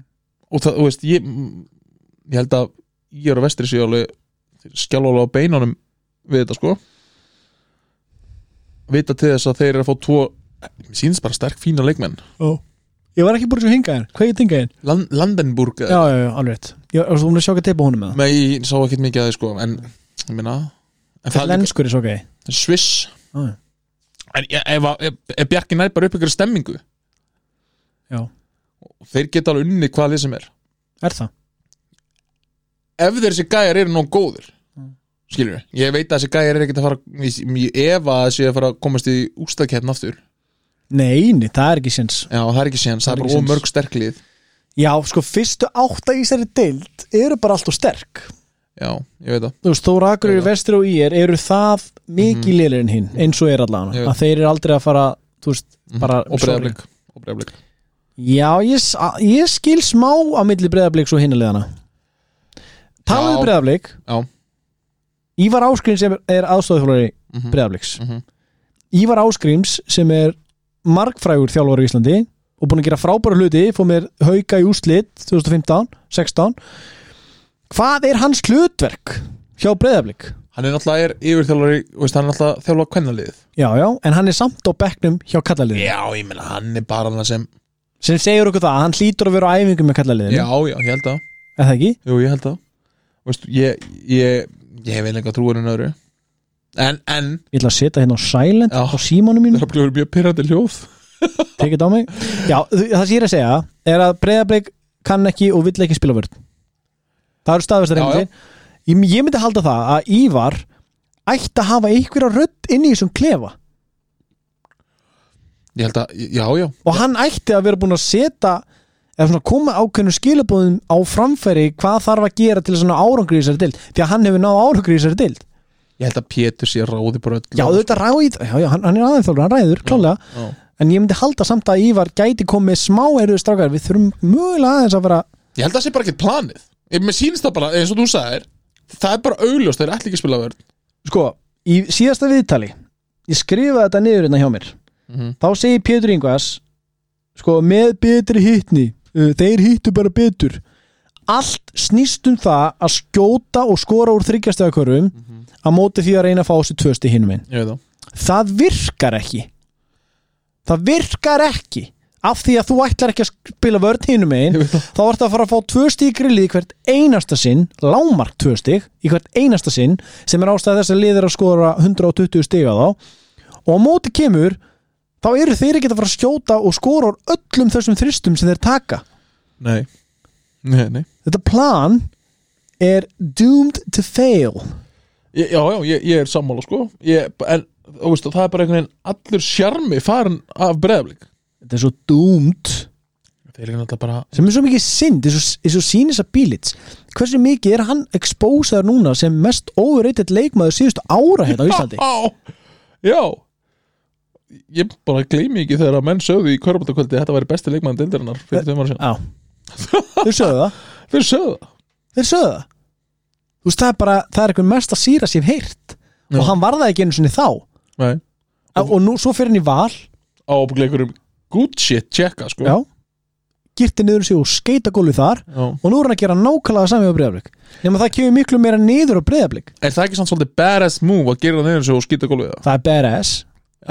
B: og það, þú veist, ég ég held að ég er á vestri sér alveg skjálfalega á beinunum við þetta sko vita til þess að þeir eru að fá tvo mér sýnst bara sterk fína leikmenn
A: Ó. Ég var ekki búin að sjá hinga þér, hvað ég tinga þér?
B: Land, Landenburg eh,
A: Já, já, já, alveg rétt Ég var svona að sjá ekki að teipa honum með
B: með ég sá ekkert mikið að þið sko en, ég meina en
A: það
B: það er líka
A: Lenskur er svo gæði
B: Sviss
A: Já, já.
B: En ef, ef, ef, ef Bjarki nær bara upp ykkur stemmingu
A: Já.
B: Og Þeir geta alveg unni hvað lið sem er
A: Er það?
B: Ef þeir þessi gæjar eru nóg góðir
A: Mm.
B: Skilur við, ég veit að þessi gæjar eru ekkert að fara Ég, ég efa að þessi að fara að komast í ústakeppn aftur
A: Nei, nei, það er ekki séns
B: Já, það er ekki séns,
A: Það
B: það
A: er
B: er
A: ekki
B: bara
A: séns.
B: ómörg sterklið
A: Já, sko, fyrstu átta í þessari deild eru bara allt og sterk
B: Já, ég veit það
A: þú veist, Þóra Akureyri,
B: Já. vestur
A: Vestur og IR eru það mikið mm. liðir en hinn, eins og er allavega
B: Já.
A: að þeir eru aldrei að fara, þú veist, bara
B: Mhm. Og breyðablik Og breyðablik
A: Já, ég, s- a- ég skil smá á milli breyðabliks og hinnaliðana
B: Já.
A: Talaðu breyðablik
B: Já.
A: Ívar Áskrims sem er aðstofþjólari
B: mm -hmm.
A: breyðabliks Ívar Áskrims sem er margfrægur þjálfur í Íslandi og búin að gera frábæra hluti, fór mér hauka í úslit 2015, 16 Hvað er hans hlutverk hjá breyðablik?
B: Hann er náttúrulega er yfirþjálfari þú veist, Hann er náttúrulega þjálfa kvennaliðið
A: Já, já, en hann er samt á bekknum hjá kallaliðinu
B: Já, ég meina, hann er bara hann sem
A: sem segir okkur það að hann hlýtur að vera á æfingu með kallaliðinu,
B: Já, já, ég held að
A: er það ekki?
B: Jú, ég held það Veistu, ég, ég, ég hef einlega trúar en öðru En, en
A: Ég ætla að setja hérna á silent
B: Já.
A: á símanu mínu,
B: Það er bara mjög pyrrandi hljóð
A: tekið þetta á mig Já, þ- það sem ég er að segja er að breyðablik kann ekki og vill ekki spila vörð Það eru staðvestar
B: Já,
A: heimildir ég, ég myndi halda það að Ívar ætti að hafa einhverja rödd inn í þessum klefa
B: Ég held að, já, já
A: og hann ætti að vera búin að setja eða svona koma ákveðnum skilabóðum á framfæri hvað þarf að gera til svona árangri í þessari dild því að hann hefur náð árangri í þessari dild
B: Ég held að Pétur sé ráði bara öll
A: Já, þetta ræð, já, já, hann, hann er aðeins þjálfur, hann ræður, klálega,
B: já.
A: en ég myndi halda samt að Ívar gæti komið smá eruðu strákar, við þurfum mögulega aðeins að vera,
B: Ég held að það sé bara ekkert planið Ég- Mér sýnist það bara, eins og þú sagðir það er bara augljóst, það er allir ekki að spila vörn
A: sko, í síðasta viðtali ég skrifaði þetta niður hérna hjá mér
B: Mhm.
A: þá segi Pétur Ingvars sko, með betri hittni uh, þeir hittu bara betur allt snýst um það að skjóta og skora úr þryggjastöðakörfum mm
B: Mhm.
A: að móti því að reyna að fá sér tvösti hinum einn
B: Ég veit það
A: það virkar ekki það virkar ekki af því að þú ætlar ekki að spila vörð hinum einn
B: Ég veit það.
A: þá ertu að fara að fá tvö stík grillið í hvert einasta sinn, lámark tvö stík í hvert einasta sinn sem er ástæða þess að liðir að skora 120 stiga þá og á móti kemur þá eru þeir ekki að fara að skjóta og skora úr öllum þessum þristum sem þeir taka
B: Nei, nei, nei
A: þetta plan er doomed to fail
B: ég, Já, já, ég, ég er sammála sko ég, En þú veist, það er bara einhvern veginn allur sjarmi farin af breðablik
A: þetta er svo doomed
B: Það er náttúrulega bara
A: sem er svo mikið synd eins og- eins og sýnis að bílits hversu mikið er hann exposaður núna sem mest overrated leikmaður síðustu ára hérna á Íslandi
B: Já, já Ég bara gleymi ekki þegar að menn sögðu í Körbóttakvöldi Þetta væri besti leikmann deildarinnar fyrir tveim ára síðan
A: Já. þeir sögðu það
B: Þeir sögðu það
A: þeir sögðu það þú veist það er bara, það er einhver mesta síra sem heyrt
B: Já.
A: og hann var það ekki einu sinni þá
B: Nei,
A: og, og nú svo fyrir hann í val
B: ábygglega einhverjum good shit checka sko
A: já, girti niður um sig og skeita gólfið þar
B: já
A: og nú er hann að gera nákvæmlega sami á breyðablík nema það kemur miklu meira niður á breyðablík
B: Er það ekki samt svolítið badass move að gera það neyður svo og skýta gólfið það?
A: það er badass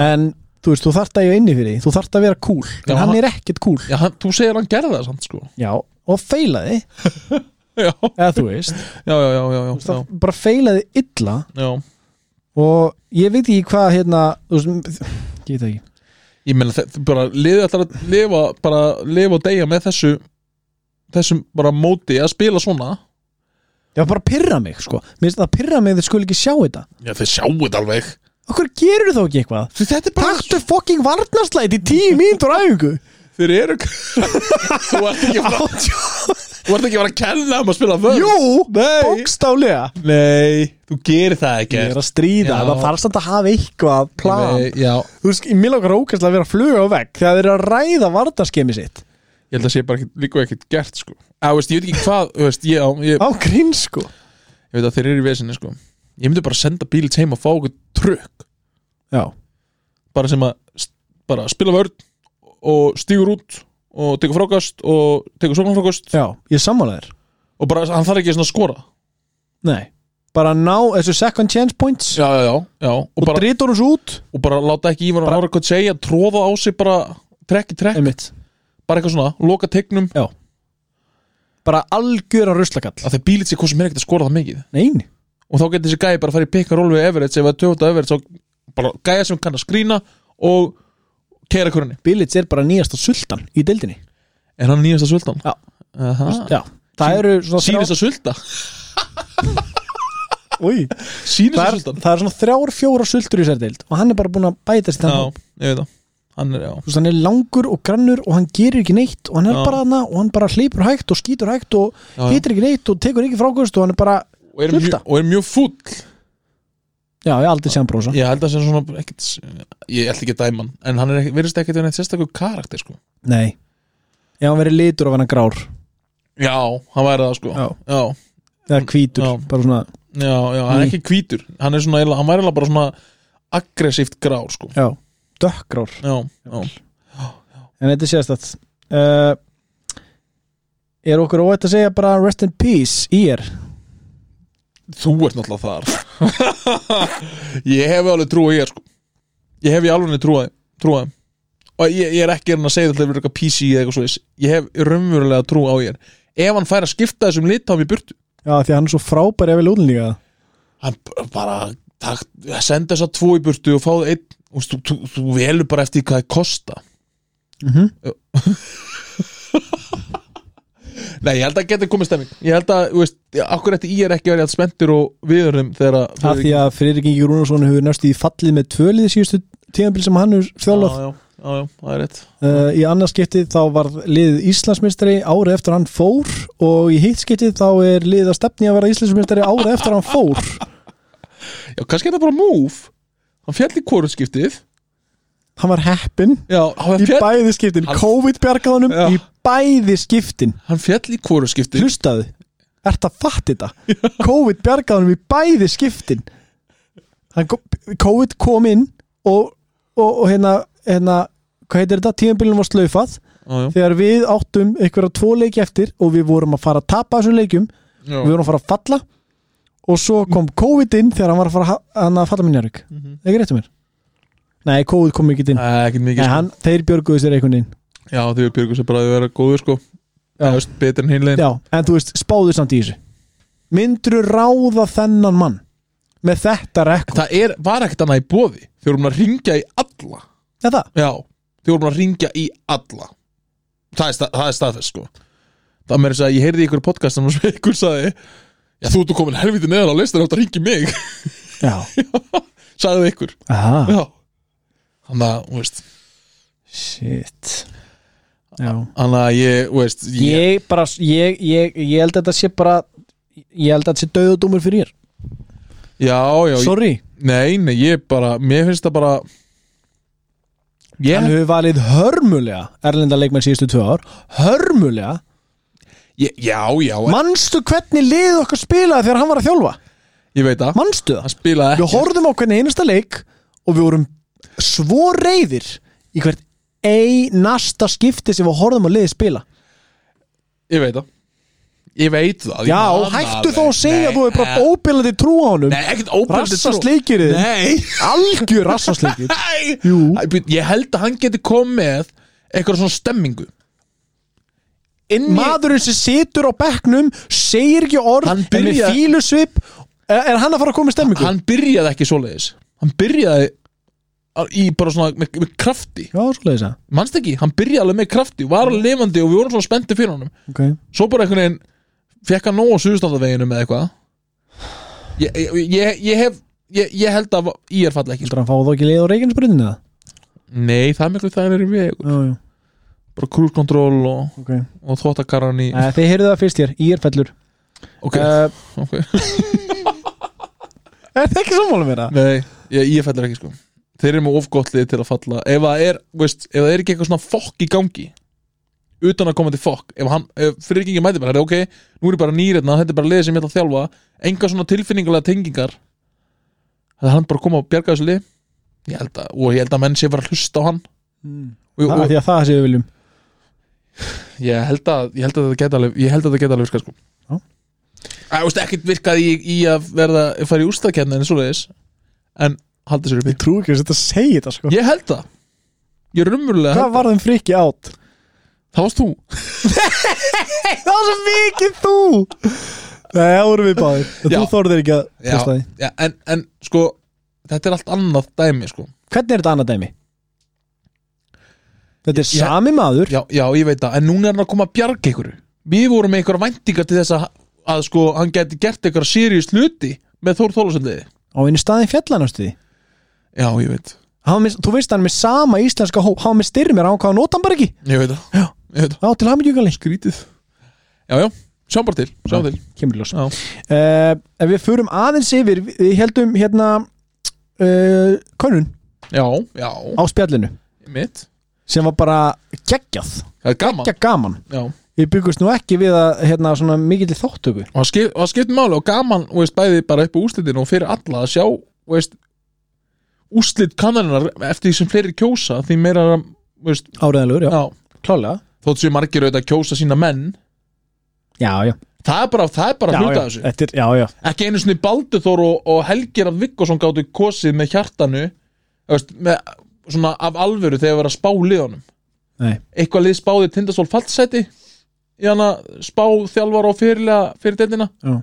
A: en þú veist, þú þarft að ég inni fyrir því þú þarft að vera cool, en
B: Já,
A: hann
B: hann-
A: er ekkert cool
B: Já, hann, þú segir hann gerði það samt sko
A: já, og feilaði,
B: Já,
A: eða þú veist
B: já, já, já, já, já, já,
A: það bara feilaði illa
B: já.
A: og ég veit ekki hvað hérna, þú veist, ég veit það ekki
B: Ég meina, þetta er bara liðið ætlar að lifa bara lifa og deyja með þessu þessum bara móti að spila svona
A: Já, bara pyrra mig, sko Mér finnst það að pyrra mig þeir skuli ekki sjá þetta
B: Já, þeir sjáu þetta alveg
A: Okkur gerur þá ekki eitthvað?
B: Því þetta er bara
A: Taktu fucking varnarslæti í tíu mínútur æfingu
B: Þeir eru Þú ert ekki að fara- Þú ert ekki að fara að kenna um að spila vörn
A: Jú,
B: Nei
A: bókstálega
B: Nei, þú gerir það ekki
A: Ég er að stríða,
B: Já.
A: það þarf samt að hafa eitthvað plan
B: Nei, Já,
A: Þú veist, mér langar ókvæmst að vera að fluga á vegg þegar þeir eru að ræða varnarskemi sitt
B: ég held að sé bara ekkit, líka ekkert gert sko Já, veist, ég veit ekki hvað, þú veist, ég, já, ég,
A: Á grinn, sko
B: ég veit að þeir eru í vesinni sko Ég myndi bara senda bílit heim og fá okkur trukk
A: Já,
B: bara sem að st- bara spila vörn og stígur út og tekur frákast og tekur sóknarfrákast
A: já, ég sammála þér
B: og bara hann þarf ekki svona að skora
A: Nei, bara ná þessu second chance points
B: Já, já, já, já. Og,
A: Og
B: bara,
A: drítur hans út
B: og bara láta ekki Ívar
A: Bara-
B: Ára hvað segja, tróða á sig bara trekk í trekk,
A: Einmitt.
B: bara eitthvað svona, loka tegnum
A: Já Bara algjöra ruslakall
B: að þeir bílit sér hvað sem er ekkert að skora það mikið
A: Nein
B: og þá getur þessi gæi bara að fara í pikka ról við Everett ef það töfta Everett, þá bara gæja sem kann að skrína og keira hvernig
A: Billits er bara nýjasta sultan í deildinni
B: Er hann nýjasta sultan?
A: Já.
B: Aha.
A: Já, það eru svona
B: Sýnist að sulta
A: Új,
B: Sýnist
A: það, er,
B: að sultan
A: það er svona þrjár, fjóra sultur í sér deild og hann er bara búin að bæta sér
B: Já,
A: þannig
B: ég veit það Hann er, já
A: Þú veist, hann er langur og grannur og hann gerir ekki neitt og hann er
B: Já.
A: bara þarna og hann bara hlýpur hægt og skýtur hægt og
B: Já, já.
A: hýtir ekki neitt og tekur ekki frákvöst og hann er bara
B: og er, mjö,
A: Sulta.
B: og er mjög fúll
A: Já, ég aldrei sé hann brosa
B: Ég held að það sé svona ekkit, Ég ætla ekki að dæma hann En hann er ekki, verðist ekkit verið sérstakur karakter sko
A: Nei, ef hann verið litur af hann grár
B: Já, hann væri það sko
A: Já.
B: já,
A: eða hvítur,
B: Já.
A: bara svona
B: já, já, hann er
A: Ný.
B: ekki hvítur Hann er svona, eiginlega- hann væri eiginlega bara svona Aggressíft grár sko
A: Já, dökkgrár
B: Já, já
A: En þetta sést að uh, Er okkur óætt að segja bara rest in peace í er
B: Þú ert náttúrulega þar Ég hef alveg trú á ég sko Ég hef í alveg trúið trúið Og ég, ég er ekki hérna að segja þetta verður eitthvað PC eða eitthvað svoleiðis Ég hef raunverulega trú á ég Ef hann fær að skipta þessum litam í burtu
A: Já, því að hann er svo frábær ef við lúðin líka
B: Hann b- bara tak, senda þess að tvo í burtu og fáðu einn Þú veist, Þú, þú, þú velur bara eftir því hvað það kosta
A: Mhm.
B: Nei, ég held að geta komið stemming Ég held að, þú veist, akkur eftir ég er ekki verið að spendur og viðurum þegar að
A: Af því að Friðrik Ingi Rúnarsson hefur næst í fallið með tvölið síðustu tíðanbíl sem hann hefur þjálfað.
B: Já, já, já, já, það er rétt
A: Uh, í annarskiptið þá var liðið Íslandsmeistari árið eftir hann fór og í hittskiptið þá er liðið að stefni að vera Íslandsmeistari árið eftir hann fór.
B: Já, kannski er það bara move Hann fjall í korutskiptið
A: Hann var heppin
B: Já, hann
A: í
B: fjall,
A: bæði skiptin.
B: Hann-
A: COVID bjargaðanum
B: Já.
A: í bæði skiptin.
B: hann fjall í korutskiptið
A: Hlustaðu. ert að fatta þetta COVID bjargaði honum í bæði skiptin Hann kom- COVID kom inn og, og, og hérna, hérna hvað heitir þetta, tíðanbílunum var slaufað
B: já,
A: þegar við áttum einhverja tvo leiki eftir og við vorum að fara að tapa þessum leikjum
B: já.
A: við vorum að fara að falla og svo kom COVID inn þegar hann var að fara að, hann að falla minn Jörg
B: Mhm.
A: ekki réttu mér? Nei, COVID kom ekki inn
B: Æ, ekkert mikið
A: Nei,
B: sko.
A: hann, þeir björguðu sér einhvern veginn
B: Já, því við björgum sér bara að vera góður sko
A: Já.
B: Það er betur en hinlegin
A: Já, en þú veist, spáðu samt í þessu Myndur ráða þennan mann með þetta rekord
B: Það er, var ekkert annað í bóði Þið vorum að ringja í alla
A: Eða?
B: Já, þið vorum að ringja í alla Það er, sta- það er staðfest sko Það meira þess að ég heyrði í ykkur podcast sem ykkur sagði Já, þú ert komin helviti neðan á listan átt að ringi mig
A: Já
B: sagði ykkur
A: Aha,
B: Já Þannig að, þú veist
A: shit Já
B: Þannig að ég, þú veist ég,
A: Ég bara, ég, ég, ég held að þetta sé bara Ég held að þetta sé döðudómur fyrir ég
B: Já, já, ég,
A: Sorry,
B: nei, nei, ég bara Mér finnst það bara Ég
A: hann hefur valið hörmulega Erlenda leikmenn síðustu tvö ár Hörmulega
B: Ég, já, já,
A: Manstu hvernig liðið okkar spilaði þegar hann var að þjálfa?
B: ég veit það
A: Manstu það?
B: Hann spilaði
A: Við
B: ekki
A: horfðum á hvernig einasta leik og við vorum svo reyðir í hvert einasta skipti sem við horfðum á liðið spila
B: Ég veit það Ég veit það ég
A: Já,
B: man það
A: hættu
B: alveg.
A: þá að segja
B: Nei,
A: að þú er bara
B: eh,
A: óbillandi trú á honum
B: Nei, ekkert óbjörn
A: Rassasleikir þinn.
B: Nei
A: Algjör rassasleikir
B: Æ,
A: Jú,
B: být, Ég held að hann geti komið með eitthvað svona stemmingu Inn í
A: maðurinn sem situr á bekknum segir ekki orð
B: Hann
A: en með
B: byrja-
A: fílusvip er, er hann að fara að koma í stemmingu?
B: Hann byrjaði ekki svoleiðis Hann byrjaði á- í bara svona með, með krafti
A: Já, svo leiðis það
B: Manst ekki, hann byrjaði alveg með krafti Var alveg lifandi og við vorum svona spendi fyrir honum
A: okay.
B: Svo bara einhvern veginn Fekk hann nóg á suðustandaveginu með eitthvað ég, ég, ég, ég hef Ég, ég held að ég er falla ekki
A: Heldur
B: sko.
A: hann fá þá ekki leið á reikinsbrunni það?
B: Nei, það er miklu það er í veg
A: Já, já,
B: Bara cruise control og,
A: ok eh,
B: og þóttakarran í
A: Þið heyrðu það fyrst hér, ég er fellur
B: Ok,
A: Eh,
B: ok
A: Er það ekki sammála mér það?
B: Nei, ég, ég fellur ekki sko Þeir eru með ofgottlið til að falla Ef það er, veist, ef það er ekki eitthvað svona fokk í gangi Utan að koma til fokk Ef, hann, ef fyrir ekki mæti bara, "Heyrðu, ok Nú er ég bara nýriðna, þetta er bara liðið sem ég ætla að þjálfa Enga svona tilfinningulega tengingar Það er hann bara að koma og bjarga þessu lið Ég held að, og ég held að menn sé bara að hlusta á hann
A: Mm.
B: og,
A: Það,
B: og,
A: því að það séu við viljum
B: ég, held að, ég held að þetta geta alveg Ég held að þetta geta alveg virkað sko
A: Já.
B: Æ, veist, ekkert virkaði í, í að verða fara í ústakenni en svoleiðis En haldi sér uppi
A: Ég trú ekki að þetta segi þetta sko
B: Ég held það Ég raunverulega
A: Hvað
B: held það
A: var þeim frikki átt?
B: Það varst þú
A: Það var svo mikið þú Nei, það vorum við báðir
B: Já.
A: Þú þorðir ekki að testa því
B: já, en, en sko Þetta er allt annað dæmi sko
A: Hvernig er þetta annað dæmi? Þetta er
B: Ég-
A: sami maður
B: Já, já ég veit það En núna er hann að koma að bjarga ykkur Við vorum með ykkur væntingar til þess að, að sko Hann geti gert ykkur serious hluti Með Þór Þólasöndiði
A: á einu staðin fjallanástu því
B: Já, ég veit
A: Hann var með, Þú veist hann er með sama íslenska hóp Hann var með styrmir, hann hvað hann nota hann bara ekki
B: Ég veit það
A: Já.
B: Ég veit það
A: Já, til hamingjögali
B: Grítið Já, já Sjáum bara til Sjáum til
A: Kemur í ljós
B: Já
A: uh, Ef við förum aðeins yfir Við við heldum hérna uh, Könnun
B: Já, já
A: á spjallinu
B: Mitt
A: Sem var bara geggjað
B: Það er gaman
A: Geggjað gaman
B: Já Og
A: Við byggumst nú ekki við að hérna svona mikill þáttöku
B: það skip- og það skiptir máli Og gaman, þú veist, bæði bara upp á úslitinu Og fyrir alla að sjá, þú veist Úslit kannarinnar Eftir því sem fleiri kjósa Því meira, þú veist
A: Áræðanlegur, já,
B: Já,
A: klálega
B: þótt séu margir auðvitað að kjósa sína menn
A: Já, já,
B: Það er bara, það er bara
A: já,
B: að hluta
A: já,
B: af þessu
A: þetta er, já, já
B: Ekki einu sinni Balduþór og, og Helgir að Viggosson gáttu kosið með hjartanu þú veist, með, Svona af alvöru þegar verið að spá liðanum
A: Nei.
B: Eitthvað lið spáði Tindastól fallseti Í hana spá þjálfar og fyrirlega fyrir deildina
A: Já.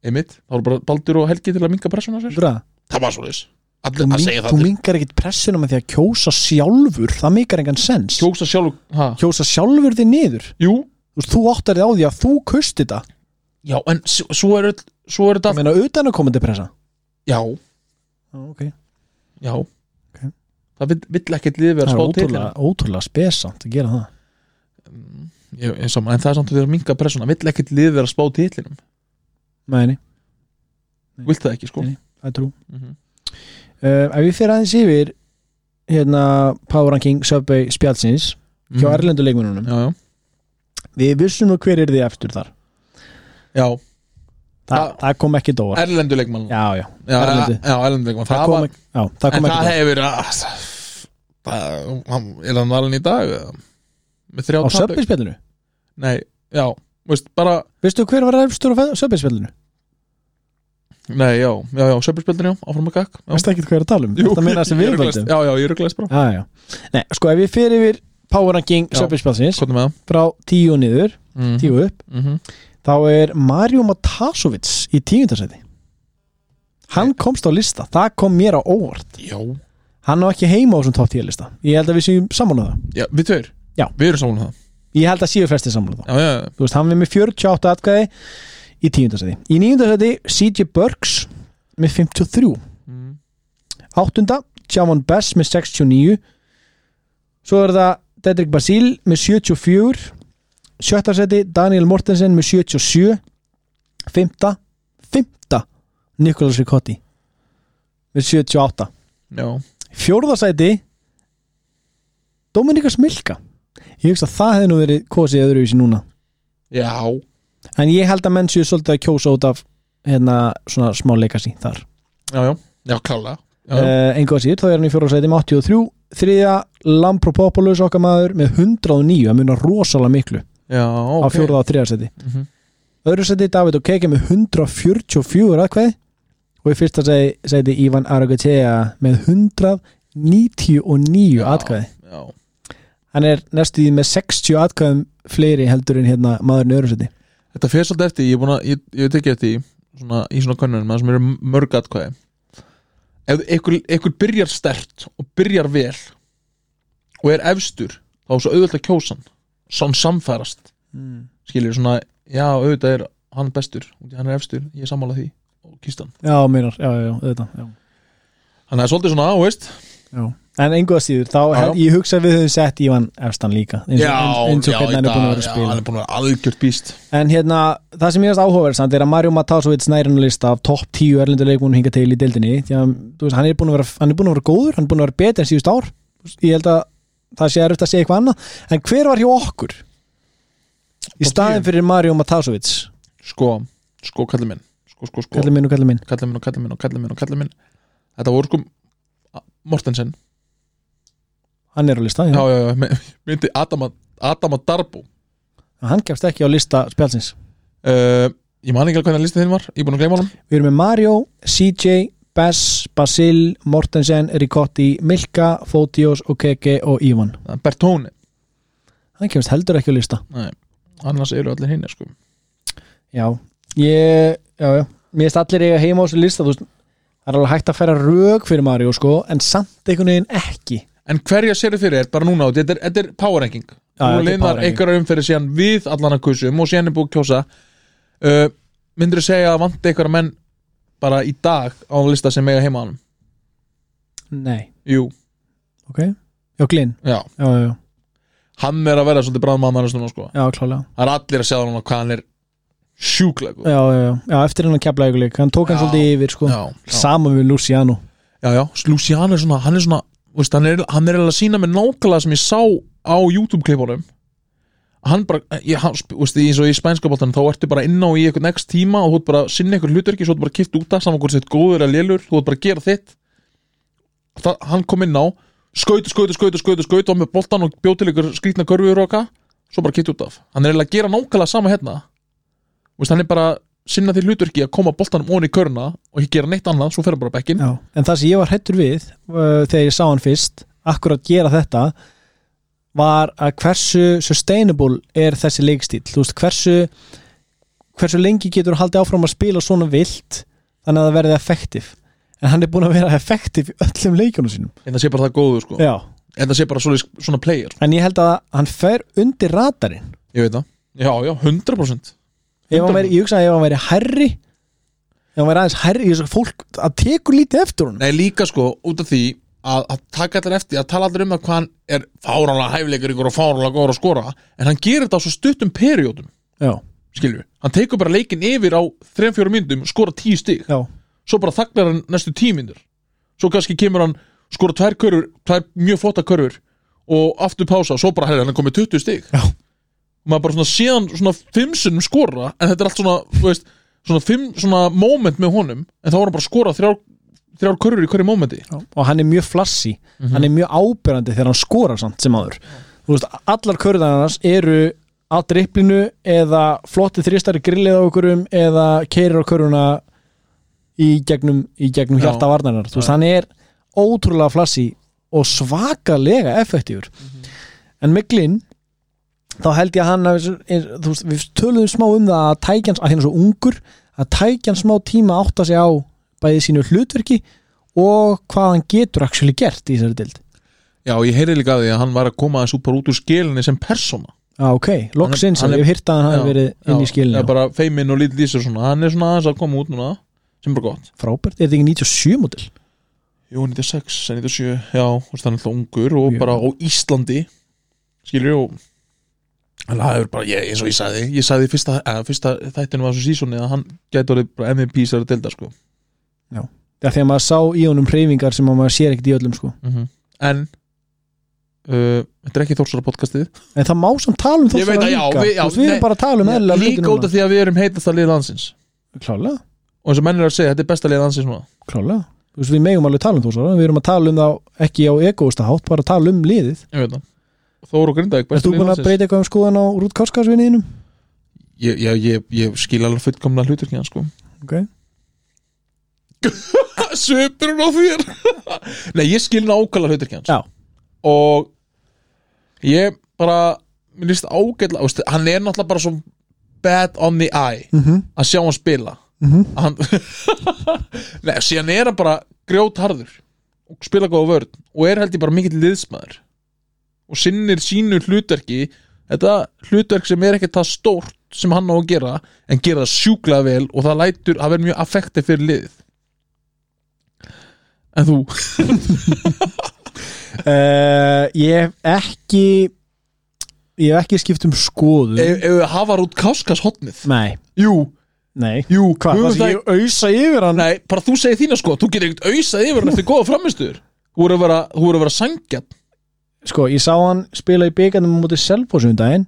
B: Einmitt, þá var bara Baldur og Helgi til að minka pressuna sér
A: Bra,
B: Það var svo leis
A: þú,
B: Allir að
A: mink,
B: segja
A: þú
B: það til
A: minkar ekkit pressuna með því að kjósa sjálfur Það mikar engan sens
B: Kjósa sjálf, ha?
A: Kjósa sjálfur þig niður
B: Jú,
A: Þú, veist, þú áttar þig á því að þú kaust þetta
B: já, en s- svo er, öll- svo er
A: Það
B: þetta
A: meina utan að koma til pressa
B: Já,
A: okay.
B: Já Það vill, vill ekkert liðið
A: Það
B: vera
A: er
B: spáð til
A: ótrúlega, ótrúlega spesamt að gera það
B: Mm, ég, ég, saman, En það er samt að vera minga pressuna Vill ekkert liðið vera spáð titlinum
A: Mæni,
B: Vill það ekki sko
A: Nei. það er trú
B: mm -hmm.
A: uh, Ef við fyrir aðeins yfir Hérna Power Ranking Subway
B: Mhm.
A: Mhm. spjallsins Hjá mm. erlendu leikmununum
B: Já, já
A: Við vissum nú hver er því eftir þar
B: Já,
A: Þa,
B: Já.
A: það kom ekki dóar
B: erlendu leikmann
A: já, já,
B: já,
A: erlendu.
B: já erlendu leikmann
A: það kom ekki, já, það
B: En
A: kom ekki
B: það
A: dóar
B: hefur að- það- hann- Er hann valin í dag? eða? Með þrjá
A: á
B: tapleik?
A: söpinspjallinu
B: Nei, já, veist bara
A: veistu hver var efstur á söpinspjallinu
B: Nei, já, já, já, söpurspildin já, áfram að gakk já.
A: veistu ekki hvað ég er að tala um
B: Jú,
A: þetta meina sem
B: ég
A: við
B: ruglaðist.
A: völdum
B: Já, já, ég rugglaðist bara
A: já, já. Nei, sko ef ég fer yfir power ranking
B: Já.
A: söpinspjallsins
B: Skoðum með það
A: frá tíu niður,
B: mm.
A: tíu upp
B: mm -hmm.
A: þá er Mario Matasovits í tíundasæti hann komst á lista, það kom mér á óvart
B: Já,
A: hann á ekki heima á þessum top 10 lista ég held að við séum saman á það
B: já, við tveir
A: Já.
B: Við erum saman um það
A: ég held að séu flestir saman á það
B: Já, já, já.
A: þú veist, hann er með 48 atkvæði í tíundasæti í níundasæti CJ Burks með 53
B: Mm.
A: áttunda, Javon Bess með 69 svo er það Dedrick Basile með 74 sjötta seti Daniel Mortensen með 77 fymta, fymta Nicholas Ricotti með 78
B: já
A: fjórða seti Dominika Smilka ég hugsa að það hefði nú verið kosið öðruvísi núna
B: Já,
A: en ég held að menn séu svolítið að kjósa út af hérna svona smá legacy þar
B: já, já, já, klálega Já, já.
A: uh, engu að síður, þá er hann í fjórarsæti með 83 þriðja Lampropopoulos okkar maður með 109, það munar rosalega miklu á
B: já ok
A: fjórða og þriðarsæti
B: Mhm.
A: öðru sæti David og Keke með 144 aðkveði og í fyrsta sæti, sæti Ivan Aragotea með 199
B: Já.
A: atkvæði
B: Já,
A: hann er næstu því með 60 atkvæðum fleiri heldur en hérna maðurinn í öðru sæti
B: Þetta fyrir svolítið eftir, ég, er búinn að, ég, ég hef tekið eftir í svona, í svona könnunum að sem eru mörg atkvæði Ef einhver, einhver byrjar stert og byrjar vel og er efstur þá er svo auðvitað að kjósa hann sann samfærast
A: mm.
B: skilur svona, já auðvitað er hann bestur út í hann er efstur, ég er sammála því og kýst hann
A: já, meinar, já, já, já, auðvitað já.
B: Þannig að það er svolítið svona, á, veist
A: Já. En engu að síður, þá
B: Já.
A: hef, ég hugsa að við höfum sett Ívan Efstan líka eins og, eins og hvernig hann er búin að vera að
B: já,
A: spila
B: hann er búin að vera algjört býst
A: En hérna, það sem ég veist áhugaverðsamt er að Mario Matasovits næri hann á lista af topp 10 erlendur leikmúnum hinga til í dildinni því að þú veist, hann, er búinn að vera, hann er búin að vera góður, hann er búin að vera betur en síðust ár ég held að það sé erfitt að segja eitthvað annað en hver var hjá okkur í
B: Topp
A: staðin
B: 10?
A: fyrir Mario Matasovits
B: Sko, sko kallið minn Sko, sko, sko
A: kallið minn og kallið minn
B: kallið minn og kallið minn og kallið minn og kallið minn Þetta voru sko Mortensen
A: hann er á lista, já.
B: já, já, já, me- myndi Adama, Adama Darbo
A: hann kemst ekki á lista spjálsins
B: uh, ég man ekki alveg hvernig listið þinn var ég er búin að gleyma honum
A: Við erum með Mario, CJ, Bess, Basil, Mortensen, Ricotti Milka, Fotios, Okeke og Ivan
B: Það er Bertone,
A: hann kemst heldur ekki á lista
B: annars eru allir hinn sko.
A: Já, ég já, já. Mér finnst allir eiga heima á þessu lista þú veist, það er alveg hægt að færa rög fyrir Mario sko, en samt einhvern veginn ekki
B: en hverja sér þið fyrir er bara núna út þetta er, þetta er power ranking
A: þetta
B: þú
A: er power
B: linnar
A: ranking.
B: einhverja umferði síðan við allan að kusum og síðan er búið að kjósa uh, myndur þú segja að vandi einhverja menn bara í dag á lista sem eiga heima á hann
A: Nei,
B: jú,
A: ok Já, Glyn,
B: já,
A: já, já, já,
B: hann er að vera svolítið bráðmann annars núna sko
A: já klálega
B: það er allir að segja núna hvað hann er sjúklega góður.
A: Já, já, já, já eftir hennan kefla ykkur hann tók hann
B: Já.
A: svolítið yfir sko,
B: já, já.
A: saman við Luciano
B: Já, já, Luciano er svona, hann er svona veist, hann, er, hann er eiginlega að sína mig nákvæmlega sem ég sá á YouTube-klipunum hann bara, ég, hann, sp- veist, eins og í spænska bóttanum, þá ertu bara inn á í eitthvað next tíma og þú ert bara að sinna eitthvað hlutverki svo þú ert bara kipt út af saman hvort þitt góður eða lélur þú ert bara að gera þitt Þa, hann kom inn á, skautu, skautu, skautu, skautu, skautu og með boltan og bjóð til ykkur skrýtna körfur og eitthvað, svo bara kipt út af hann er eiginlega að gera nákvæmlega sama hérna veist, hann er bara að sinna því hlutverki að koma boltanum onni í körna og ekki gera neitt annað, svo fer hann bara bekkin
A: já. En það sem ég var hættur við uh, þegar ég sá hann fyrst, akkurat gera þetta var að hversu sustainable er þessi leikstíl þú veist, hversu hversu lengi getur hann haldið áfram að spila svona vilt þannig að það verði effektiv en hann er búin að vera effektiv í öllum leikjónu sínum
B: en það sé bara það góðu sko
A: Já.
B: en það sé bara svoleiðis, svona player
A: en ég held að hann fer undir radarinn
B: ég veit það, já já, 100%
A: ef hann veri, ég hugsa að ef hann veri herri ef hann veri aðeins herri, ég hugsa að fólk að tekur lítið eftir hann
B: nei líka sko, út af því að, að taka allir eftir, að tala allir um það hvað hann er fáránlega hæfleikur ykkur og fáránlega góður að skora en hann gerir þetta á svo stuttum periódum
A: Já,
B: skilju, hann tekur bara leikin yfir á 3-4 myndum, skora 10 stig
A: já,
B: svo bara þaklar hann næstu 10 myndur svo kannski kemur hann, skora tvær körur tvær mjög flotta körur og aftur pása og svo bara herri, hann er komið 20 stig
A: Já.
B: maður bara svona síðan svona fimm sunnum skora en þetta er allt svona, þú veist, svona fimm svona moment með honum en þá var hann bara að skora þrjár, þrjár körur í hverju momenti
A: og hann er mjög flassi
B: Mhm.
A: hann er mjög ábyrrandi þegar hann skorar samt sem áður þú veist, allar körðan hans eru á dripplinu eða flotti þrýstari grillið á okkurum eða keirir á köruna í gegnum, í gegnum
B: Já.
A: hjarta varnarinnar þú veist, hann er ótrúlega flassi og svakalega effektífur
B: Mhm.
A: en með glinn þá held ég að hann hafi- er, þú veist, við töluðum smá um það að tækjans, að hérna er svo ungur að tækjan smá tíma að átta sig á bæði sínu hlutverki og hvað hann getur actually gert í þessari dild
B: Já, og ég heyrði líka að því að hann var að koma þessu bara út úr skilinni sem persóna
A: ah, ok, loksins,
B: Hann er-
A: ég hef hýrt að hann hafi
B: Já,
A: verið inn í
B: já,
A: skilinu
B: já, bara feiminn og lítið lísir svona hann er svona aðeins að koma út núna sem er bara gott
A: frábært, er þetta ekki 97 mótil
B: Jú, 96, 97, já, þú veist, hann er alltaf ungur og
A: Já.
B: bara á Íslandi skilur og hann hafður bara, ég, eins og ég sagði ég sagði í fyrsta, að, fyrsta þættinu var svo sísoni að hann gæti orðið bara MVP sér að delda sko.
A: þegar þegar maður sá í honum hreyfingar sem að maður sér ekkert í öllum sko
B: en uh, þetta er ekki Þórsara podcastið
A: en það má samt tala um
B: Ég veit
A: þóttara
B: að já,
A: líka
B: við- já,
A: Þú veist, við
B: nei,
A: erum bara að tala um eðlilega hluti
B: líka út af
A: núna
B: því að við erum heitast að liða landsins
A: klálega,
B: og eins og menn er að segja, þetta er besta liða landsins núna
A: klálega Þú veist, við megum alveg tala um þú svo við erum að tala um það ekki á egoista hátt bara að tala um liðið
B: ég veit það Þóru og Grindavík,
A: Erst
B: besta
A: þú
B: liða
A: búin að
B: landsins
A: breyta eitthvað um skoðan á Rút Káskásvinniðinum?
B: ég, ég, ég, ég skil alveg fullkomna hlutur ekki hann sko
A: Okay.
B: svipurinn á þér Nei, ég skil nákvæmlega hlutur hans
A: Já.
B: Og ég bara, mér líst ágætlega veist, Hann er náttúrulega bara svo bad on the eye
A: Mm -hmm.
B: að sjá hann spila
A: Mm -hmm.
B: Að hann, Nei, síðan er hann bara grjótharður og spila góða vörn og er held ég bara mikill liðsmaður og sinnir sínu hlutverki þetta hlutverk sem er ekkert það stórt sem hann á að gera en gera það sjúklega vel og það lætur að vera mjög affekti fyrir liðið en þú
A: Eh, Ég hef ekki Ég hef ekki skipt um skoðun
B: ef, ef við hafa rút káskas hotnið
A: Nei,
B: jú,
A: nei
B: jú,
A: Hvað, það
B: höfum
A: sem
B: það,
A: ég ausa yfir hann
B: nei, bara þú segir þína sko þú getur ekkert auðsað yfir hann eftir góða framistuður þú voru að vera, þú voru að vera sangjarn
A: Sko, ég sá hann spila í byggandum á móti Selfossundaginn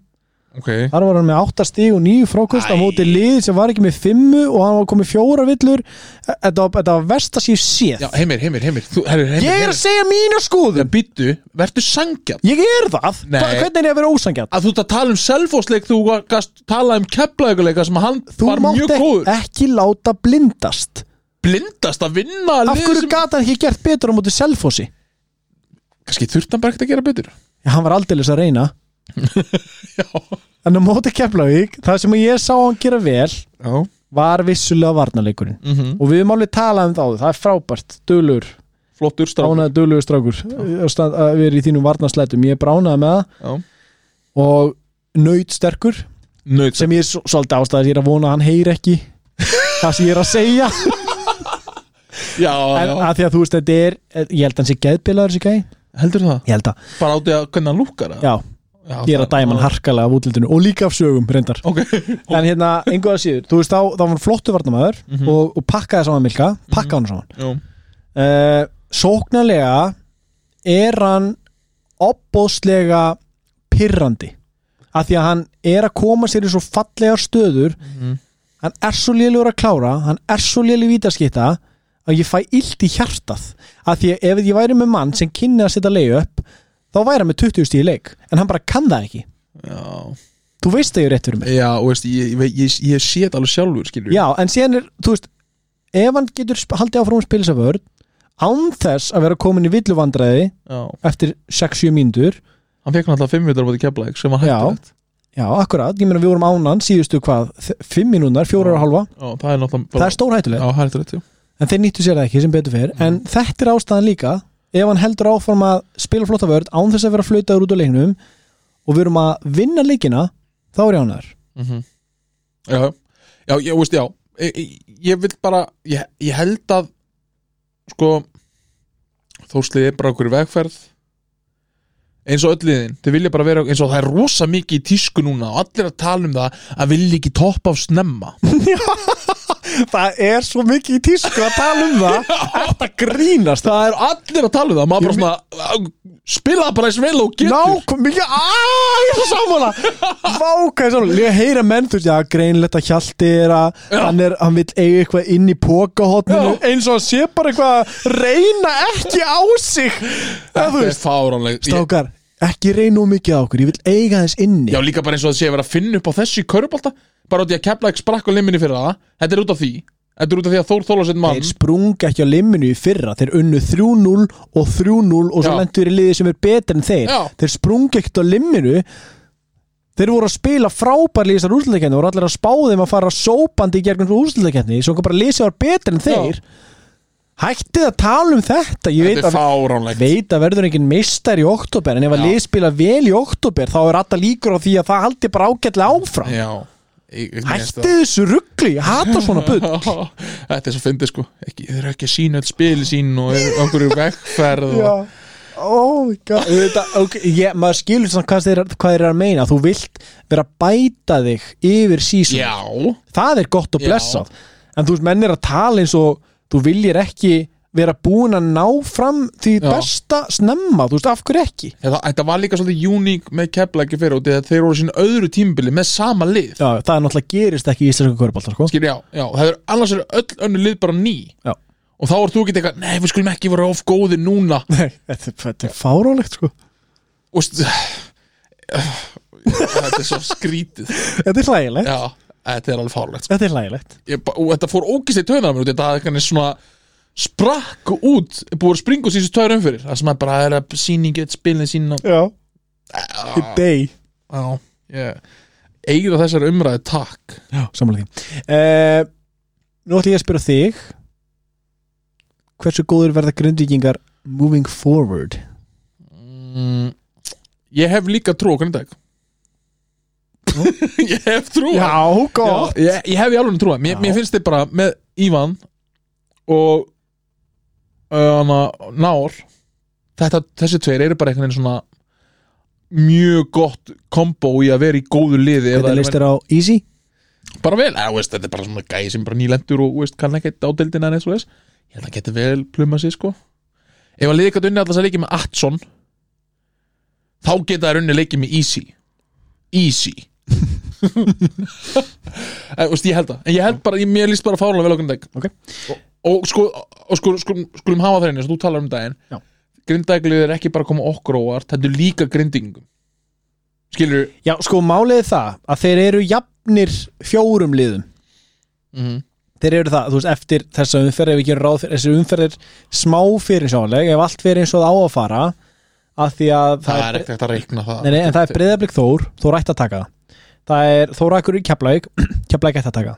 B: okay.
A: Þar var hann með 8 stíg og 9 frákust á
B: Æ.
A: móti lið sem var ekki með 5 og hann var komið fjóra villur E, Þetta var, þetta var verst að séu séð
B: Já, heimir, heimir, heimir, þú, heimir, heimir
A: Ég er að segja mína skoðun
B: Það býttu, verður sangjarn
A: Ég er það,
B: Nei.
A: Hva, hvernig er ég að vera ósangjart?
B: Að þú ert að tala um selfósleik Þú gast tala um keflaðuguleika sem hann
A: Þú
B: var
A: mátt
B: mjög
A: ekki, e-
B: góður
A: ekki láta blindast
B: Blindast að vinna
A: Af
B: liðið
A: hverju gata hann ekki gert betur á móti Selfossi?
B: Kannski þurft hann bara ekkert að gera betur
A: Já, hann var aldeilis að reyna
B: Já,
A: En á móti Keflavík, það sem ég sá hann gera vel
B: Já.
A: var vissulega varnarleikurinn
B: Mm -hmm.
A: og við höfum alveg talað um það áður, það er frábært dölur,
B: Flottur strákur
A: bránaði dölur strákur að stand- að vera í þínum varnarslætum ég bránaði með
B: Já.
A: það og nöyt sterkur
B: Naut
A: sem ég er svo- svolítið ástæðis, ég er að vona að hann heyri ekki það sem ég er að segja
B: Já,
A: en
B: já
A: að því að þú veist þetta er, ég held að hann sé geðbilaður þessi gæ ég
B: Heldur það?
A: held að,
B: Bara átti að hvernig hann lúkar það?
A: já,
B: já
A: ég er að
B: það-
A: dæma hann harkalega af útlitinu og líka af sögum reyndar
B: Ok,
A: en hérna, einhverða síður, þú veist þá, þá var hann flottu varnamæður
B: Mhm.
A: og, og pakkaði saman Milka pakkaði hann saman
B: já
A: uh, sóknarlega er hann opbóðslega pirrandi af því að hann er að koma sér í svo fallegar stöður
B: Mhm.
A: hann er svo lélugur að klára hann er svo lélugur vítaskita að ég fæ illt í hjartað af því að ef ég væri með mann sem kynni að setja leiðu upp þá væri hann með 20 stíð í leik en hann bara kann það ekki
B: Já,
A: þú veist það ég er rétt fyrir mig
B: já og veist, ég, ég, veit- ég, ég sé þetta alveg sjálfur, skilur
A: Já, en síðan er, þú veist ef hann getur sp- haldið áfram að spila þessa vörn án þess að vera komin í villuvandræði
B: já
A: eftir 6-7 mínútur
B: Hann fekk náttúrulega 5 mitur á bátti keflaðik sem var
A: Já.
B: hægt
A: Já, akkurat, ég meina við vorum ánan síðustu hvað, 5 mínúnar, 4 og halva
B: Já, það er náttúrulega
A: Það
B: bara
A: er stórhættulegt,
B: Já, Mm. hægt rétt, já
A: en þeir nýttu sér það ekki sem betur fer En þetta er ástæðan líka Ef hann heldur áfram að spila flotta vörð án þess að vera flautaður út á leiknum og við erum að vinna leikina þá er ég ánæður
B: -hmm. Já, já, já, veist, já ég, ég, ég vil bara, ég, ég held að sko Þórslið er bara okkur vegferð eins og öll liðin þau vilja bara vera, eins og það er rosa mikið í tísku núna og allir að tala um það að vilja ekki toppa á snemma
A: Það er svo mikið í tísku að tala um það Þetta grínast
B: það er allir að tala um það maður bara
A: Ég
B: svona, Spilaði bara eins vel og getur
A: Nákvæm, mikið, aaa, ég er svo sammála Váka, ég er sammála, ég heyra menn þú veist, já, greinlegt að Hjalti er að hann, er, hann vill eiga eitthvað inn í pókahotninu
B: Já.
A: eins og hann sé bara eitthvað að reyna ekki á sig eða þú
B: Þetta er
A: veist,
B: fáránleg Ég-
A: stákar ekki reyna of mikið á okkur, ég vil eiga þess inni
B: Já, líka bara eins og það sé að vera að finna upp á þessu í körubólta Bara út í að kepla ekki sprakk og liminni fyrir það Þetta er út af því Þetta er út af því að Þór Þólasinn mann
A: Þeir sprungu ekki á limminu í fyrra Þeir unnu 3-0 og 3-0 og svo
B: Já.
A: lendur í liði sem er betur en þeir
B: Já.
A: Þeir sprungu ekkert á limminu Þeir voru að spila frábærlega í þessar úrslutakefni voru allir að spá þeim að fara sópandi í gegnum úrslutakefni svo kom bara liði sem var betur en þeir Hættið að tala um þetta Ég veit
B: Þetta er
A: að,
B: fáránleg
A: veit að verður engin mistar í oktober en ef að
B: Já.
A: liði spila vel í oktober þá er alltaf líkur á því að það haldi bara ágætlega áfram
B: Já Ég- ég-
A: Hættið þessu ruggli, ég hata svona bull
B: Þetta er svo fyndið sko ekki, Þeir eru ekki að sína öll spil sín og er einhverju vegferð og...
A: Já Oh my god Þetta, okay, ég, Maður skilur svona hvað þeir, hvað þeir eru að meina Þú vilt vera að bæta þig yfir sísum
B: Já,
A: Það er gott og
B: Já.
A: blessað En þú veist, menn er að tala eins og Þú viljir ekki vera búin að ná fram Því
B: Já.
A: besta snemma Þú veist, af hverju ekki
B: Þetta, þetta var líka svolítið uník með keplæki fyrir og þegar þeir voru sín öðru tímbili með sama lið
A: Já, það er náttúrulega gerist ekki í íslenska körbáltar sko.
B: Skilur, já, já, það er annars eru öll önnu lið bara ný
A: Já.
B: og þá er þú ekki eitthvað, nei, við skulum ekki vera of góði núna
A: Nei, þetta, er- þetta er fárálegt sko.
B: og st- þetta er svo skrítið
A: Þetta er hlægilegt
B: já, þetta er alveg fárlegt sko.
A: Þetta er hlægilegt
B: Ég ba- og þetta fór ógist í töðan mér út, þetta er kannski svona sprakk út, búið að springa úr síðustu tveir umfyrir það sem að bara er að sýningi, spilin sína
A: Já Í deg
B: já, ég eigið að þessar umræði takk
A: Já, samanlega því uh, Nú ætlum ég að spyrja þig Hversu góður verða grindvíkingar moving forward?
B: Mm, ég hef líka trú á Grindag Ég hef trú á-
A: gott
B: Já, ég, ég hef í alveg trú á mér,
A: Já.
B: mér finnst þið bara með Ívan og uh, hana, Nár þetta, þessi tveir eru bara einhvern veginn svona mjög gott kombo í að vera í góðu liði ef það
A: Þetta
B: er-
A: leist þér á easy?
B: bara vel, eða, Ah, þú veist, þetta er bara svona gæði sem bara nýlendur og þú veist, kann ekkert ádeldina en eins og þess ég held að geti vel pluma sér sko ef að liðið gæti unni alltaf að leikið með Atson þá geta þær unni leikið með Easy Easy en, þú veist, ég held það en ég held bara, ég, mér líst bara fárlega vel á Grindag
A: Ok.
B: og, og sko, og sko, sko skulum hafa það einu, þú talar um daginn
A: Já.
B: Grindaglið er ekki bara að koma okkur óvart þetta er líka grindingum skilur
A: Já, sko málið er það að þeir eru jafnir fjórum liðum
B: mm,
A: Mhm. Þeir eru það, þú veist, eftir þessa umferð ef við gerum ráð fyrir, þessi umferð er smá fyrir sjáleg, ef allt fyrir eins og það á að fara að því að
B: það, er ekkert hægt að reikna það
A: Nei, nei, en það er breyðablík Þór, Þór ætti að taka það. það er Þór Akkur í Keflavík Keflavík ætti að taka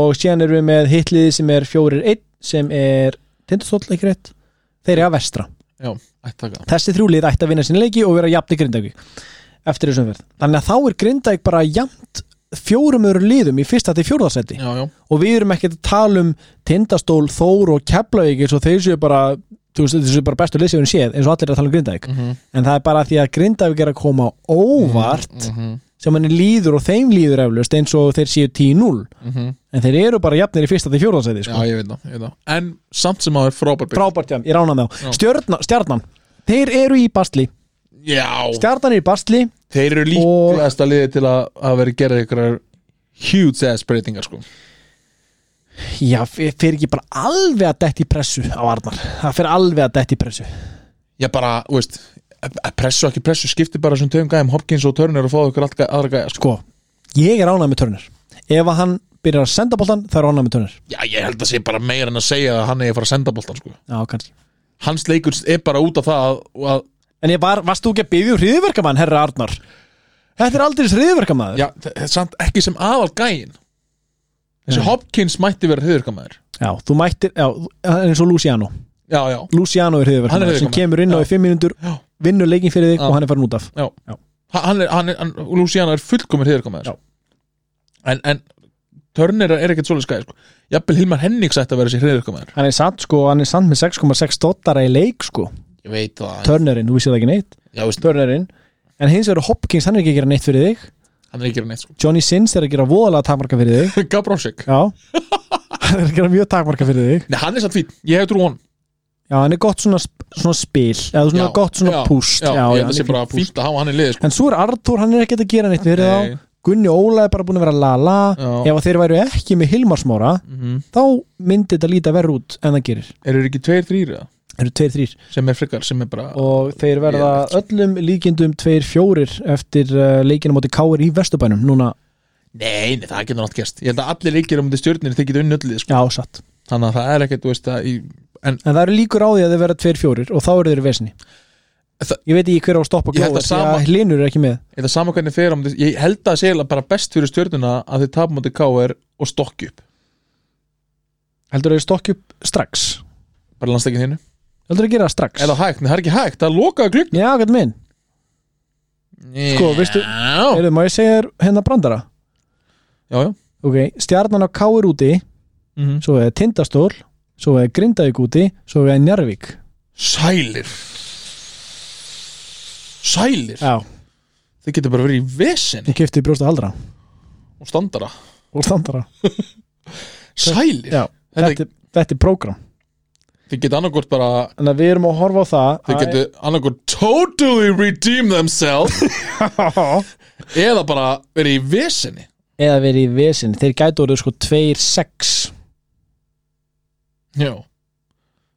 A: og síðan erum við með hitliði sem er 4-1 sem er tindastóll ekki rétt þeir eru að vestra
B: Já, ætti að taka
A: þessi þrjúlið ætti að vinna sinni leiki og vera jafn í Grindavík eftir þessum verð þannig að þá er Grindavík bara jafnt fjórum öru liðum í fyrsta til fjórðarsetti
B: Já, já,
A: og við erum ekkert að tala um tindastól, Þór og Keflavík eins og þeir séu bara þú veist, þeir séu bara bestu liðsefinu séð eins og allir eru að tala um Grindavík
B: Mhm.
A: en það er bara því að Grindavík er að koma á óvart
B: Mhm,
A: sem henni líður og þeim líður eflust eins og þeir séu 10-0 en þeir eru bara jafnir í fyrsta til fjórðansæti
B: Mhm. já,
A: sko.
B: ég veit það, ég veit það En samt sem að það er frábær bygg
A: frábært hjá, þeim, ég rána með þá Stjörna, stjarnan, þeir eru í bastli
B: Já,
A: stjarnan er í bastli
B: þeir eru líklegasta liði til að, að vera gerða ykkur huge ass breytingar sko
A: já, f- fer ekki bara alveg að detti í pressu á Arnar, það fer alveg að detti í pressu
B: Já, bara, þú veist að- að Pressu ekki pressu, skipti bara sem töfum gæðum Hopkins og Turner og fáðu ykkur allt gæ- aðra gæja sko.
A: sko, ég er ránað með törnir ef að hann byrjar að senda boltan, það er ránað með törnir
B: Já, ég held að sé bara meira en að segja að hann eigi að fara að senda boltan sko.
A: já, kannski
B: Hans leikur er bara út af það að, að
A: en ég var, varst þú ekki að byggja um hriðverkamann, herra Arnar þetta er aldrei hriðverkamaður
B: Já, þe- þe- samt ekki sem aðal gæin Þessi
A: Nei.
B: Hopkins mætti vera hriðurkamæður
A: já, þú mættir, já, hann er eins og Luciano
B: Já, já,
A: Luciano er
B: Hann er
A: hriðverkamaður sem
B: hryðjuverkamaður.
A: kemur inn á í
B: Já.
A: 5 mínútur
B: Já.
A: vinnur leikin fyrir þig
B: Já.
A: og hann er farin út af
B: Já,
A: Já.
B: Ha- Hann er, hann er, hann, Luciano er fullkomur
A: Já.
B: hriðurkomaður en, en Turner er ekkert svolítið skæði sko. Jafnvel Hilmar Hennings ætti að vera sér hriðurkomaður
A: hann er samt sko, hann er samt með 6,6 dottara í leik sko,
B: Ég veit það
A: törnerinn, þú vissir það ekki neitt
B: Já, veist,
A: törnerinn, en hins vegar Hopkins hann er ekki að gera neitt fyrir þig,
B: hann er ekki að gera neitt sko.
A: Johnny Sins er að gera voðalega takmarka fyrir þig,
B: Gabrósik
A: já hann er að gera mjög takmarka fyrir þig,
B: Nei, hann er satt fín, ég hef trú á hann
A: já, Já, hann er gott svona, sp- svona spil eða svona gott svona púst
B: já,
A: já,
B: ég
A: já,
B: held að
A: hann
B: sé
A: er
B: bara
A: fínt púst.
B: fínt að hafa hann í liði sko.
A: En svo er Arthur, hann er ekkert að gera neitt verið á
B: Nei.
A: Gunni Óla er bara búin að vera lala
B: Já.
A: Ef að þeir væru ekki með Hilmarsmóra
B: Mhm.
A: þá myndi þetta líta verð út en það gerir
B: eru þeir ekki tveir þrýra
A: Það eru tveir þrýr
B: sem er frikar sem er bara
A: og þeir verða öllum líkindum tveir fjórir eftir uh, leikinu móti Káir í Vesturbænum núna,
B: nei, nei, það getur nátt gerst ég held að allir leikir um þetta stjórnir þeir getur unni öllu sko.
A: já, satt
B: þannig að það er ekkert, þú veist að í, en
A: En það eru líkur á því að þeir verða tveir fjórir og þá eru þeir í vesni
B: Það-
A: Ég veit ekki hver á að stoppa
B: Ég held að
A: gróa því
B: sama-
A: að hlinur er ekki með
B: Eða sama hvernig fer um, ég held að það sé eiginlega bara best fyrir stjórnuna að þið tapum átti KR og stokki upp
A: Heldur þeir stokki upp strax
B: bara landsleikin þínu
A: Heldur þeir gera það strax
B: eða hægt, nei, það er ekki hægt, það er lokaða glugg
A: Já, gæt minn Sko, veistu-
B: já,
A: Heyrðu, má ég segja þér hérna brandara
B: já, já.
A: Ok, stjarnan á Káir úti
B: Mhm.
A: svo er Tindastól svo er Grindavík úti, svo er Njarvík
B: sælir sælir
A: Já,
B: þið getur bara verið í vesinni
A: ég kefti brjósta aldra
B: og standara
A: og standara
B: sælir,
A: Já,
B: Þetta-
A: þetta, þetta er prógram
B: þið getur annarkort bara
A: Þannig að við erum að horfa á það
B: þið getur annarkort totally redeem themselves
A: að,
B: eða bara verið í vesinni
A: Eða verið í vesin Þeir gætu orðið sko 2-6
B: já,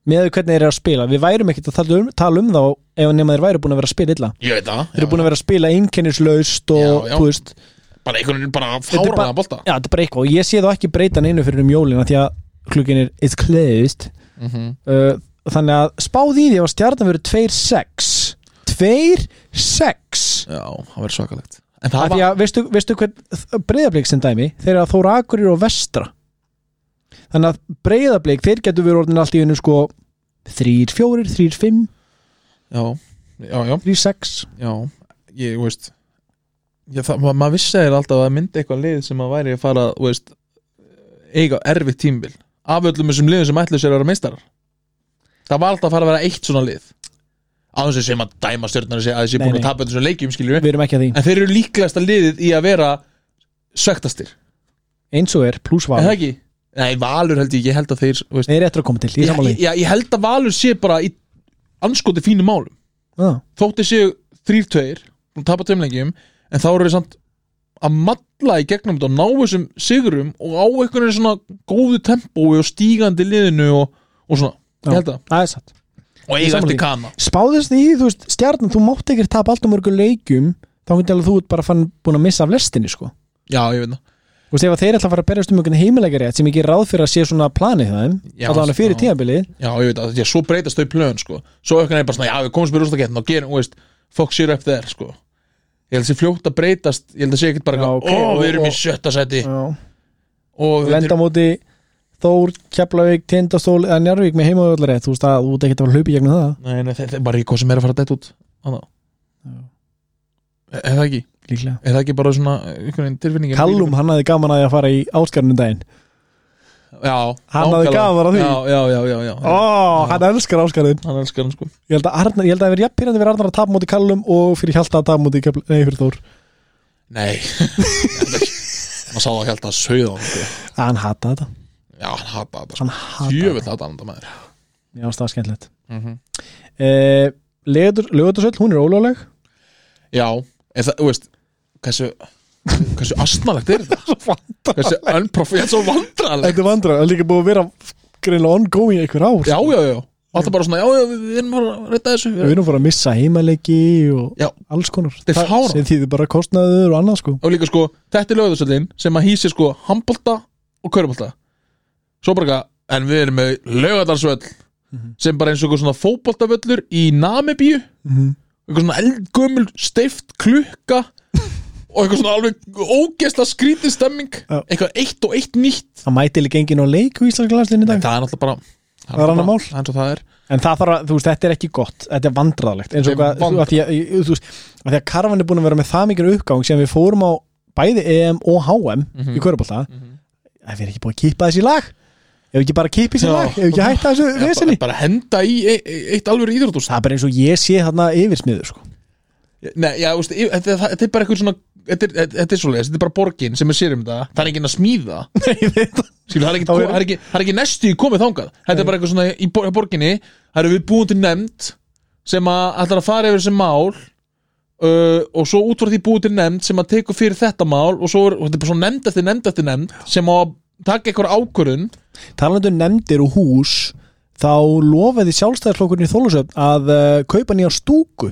A: Með því hvernig þeir eru að spila Við værum ekkert að tala um, tala um þá Ef nema þeir væru búin að vera að spila illa
B: ég veit það
A: Þeir eru
B: já,
A: búin að vera að spila einkennislaust og,
B: Já, já.
A: þú veist,
B: bara einhvern veginn bara
A: er bara-
B: fáraða bolta
A: já, þetta er bara eitthvað og ég sé þá ekki breyta neinu fyrir um jólina því að klukkin er it's closed
B: mm -hmm.
A: uh, þannig að spáð í því að stjarnan verið 2-6 2-6
B: já, það verður svakalegt en
A: Af
B: það
A: því
B: var,
A: að veistu, veistu hvern breyðablík sem dæmi þeir eru að þóra akurir og vestra þannig að breyðablík þeir getur verið orðin allt í einu sko 3-4, 3-5,
B: já, já, já,
A: 3-6
B: já ég, þú veist já, það, ma maður vissi þeir alltaf að myndi eitthvað lið sem að væri að fara, þú veist eiga erfitt tímbil af öllum þessum liðum sem ætlu sér að vera meistarar það var alltaf að fara að vera eitt svona lið á þess að sem að dæma stjórnar að þessi
A: Nei,
B: búin
A: nei.
B: að tapa þessum leikjum skiljum
A: við erum ekki að því
B: en þeir eru líklegasta liðið í að vera svektastir,
A: eins og er, pluss
B: er
A: val
B: það ekki? Nei, Valur held ég, ég held að þeir þú veist,
A: þeir eru eftir að koma til, ég
B: ég,
A: samanlega
B: ég, ég, ég held að Valur sé bara í anskoti fínum málum
A: já,
B: þótti séu þrýr tveir og tapa tveim lengjum en þá eru þið samt að matla í gegnum þetta og ná þessum sigurum og á einhvern veginn svona góðu tempói og stígandi liðinu og, og svona,
A: Já.
B: ég held að
A: það er satt
B: og
A: Ég
B: eiga
A: sammála
B: eftir
A: því.
B: kana
A: spáðist því, þú veist, stjarnan, þú mátt ekki tapa alltaf mörgum leikjum, þá hundi alveg þú ert bara fann búin að missa af lestinni, sko
B: já, ég veit það
A: Þú veist, ef að þeir ætla að fara að berjast um einhvern heimilegari sem ekki ráð fyrir að sé svona planið það
B: Já,
A: allavega fyrir
B: já.
A: tíðabilið
B: já, ég veit það, því að svo breytast þau plön sko. svo einhvern veginn bara svona, já, við komumst mér úr stakettin og gerum, þú veist, fokk sér upp þeir sko. ég held að sé fljótt að breytast ég held að sé ekkert bara,
A: Já,
B: eitthvað, ó,
A: ok, og-
B: við erum
A: og-
B: í sjötta seti
A: og
B: og
A: lenda á móti Þór, Keflavík, Tindastól eða Njárvík með heimavöldari, þú veist að þú ert ekkert að fara að hlaupa í gegnum það,
B: Nei, nei, þetta er bara ekki hvað sem er að fara að dætt út Þannig Er það ekki?
A: líklega
B: Er það ekki bara svona einhvern veginn tilfinningin
A: Kallum, hann hafði gaman að því að fara í áskarunum daginn
B: Já
A: Hann hafði
B: nákvæmlega.
A: gaman að því.
B: Já, já, já, já, já.
A: Ó, hann elskar áskarun
B: Hann elskar hann sko
A: Ég held að Arnar- ég held að það verið jafnpyrrandi fyrir Arnar að tapa móti Kallum og fyrir Hjalta að tapa móti Kefla- nei, fyrir Þór
B: Nei Hann sá það ekki alltaf að sauða hann sko.
A: Ah, Hann hata þetta
B: Já, hann hata þetta
A: Hann
B: sko
A: hata
B: Jöfell hata hann þetta maður
A: Já, það er skemmtilegt
B: mm -hmm.
A: eh, Lögutarsöll, hún er ólögleg
B: Já, er það, þú veist Hversu Hversu astnalegt er þetta?
A: Vandræðalegt.
B: Hversu unprofi Þetta er svo vandralegt
A: Þetta er vandrar, það er líka búið að vera greinlega ongoing í einhver ár
B: Já, já, já Alltaf bara svona, já, já, við við erum bara að reyta þessu
A: Við erum fór að missa heimaleiki og
B: Já,
A: alls konar
B: Þetta er fáránlegt.
A: sem þýðir bara kostnaður og annað sko
B: og líka sko, þetta er lögðarsöldin sem að hýsi sko handbolta og körbolta svo bara eitthvað, en við erum með lögðarsöld sem bara eins og einhver svona fótboltavöllur í Namibíu eitthvað svona eldgömmul steift klukka og eitthvað svona alveg ógesla skrítið stemming
A: Já.
B: eitthvað eitt og eitt nýtt
A: Það mæti líka enginn á leik í Íslandsglanslinni í
B: en
A: dag
B: það er náttúrulega bara
A: Það er annað mál.
B: eins og það er
A: En það þarf að, þú veist, þetta er ekki gott Þetta er vandræðalegt eins og
B: Þetta er
A: hvað, þú- af því að, þú veist af því að Karvan er búin að vera með það mikil uppgang sem við fórum á bæði EM og HM
B: Mhm.
A: í Körbólta mm Ef við erum ekki búin að kippa þessi lag Ef við ekki bara kippa þessi
B: Já.
A: lag Ef við ekki hætta þessu
B: bara,
A: vesinni
B: bara henda í e- e- eitt alveg íþrótus
A: Það er bara eins og ég sé þarna yfirsmiður sko.
B: Nei, já, veist, ég- þetta þetta er bara eitthvað svona þetta er, þetta er svoleiðis, þetta er bara borgin sem er sér um það það er enginn að smíða
A: Nei, ég veit það
B: Skilu, það, er ekki,
A: Þá er-
B: það, er ekki, það er ekki næstu í komið þangað Þetta er bara eitthvað svona í bor- borginni Það Herru, við búum til nefnd sem að ætlar að fara yfir þessi mál uh, og svo út frá því búum til nefnd sem að tekur fyrir þetta mál og svo er, og þetta er bara svona nefnd eftir nefnd eftir nefnd sem á að taka einhver ákvörun
A: Talandu um nefndir og hús þá lofaði sjálfstæðarflokkurinn í Þólusöfn að uh, kaupa nýja stúku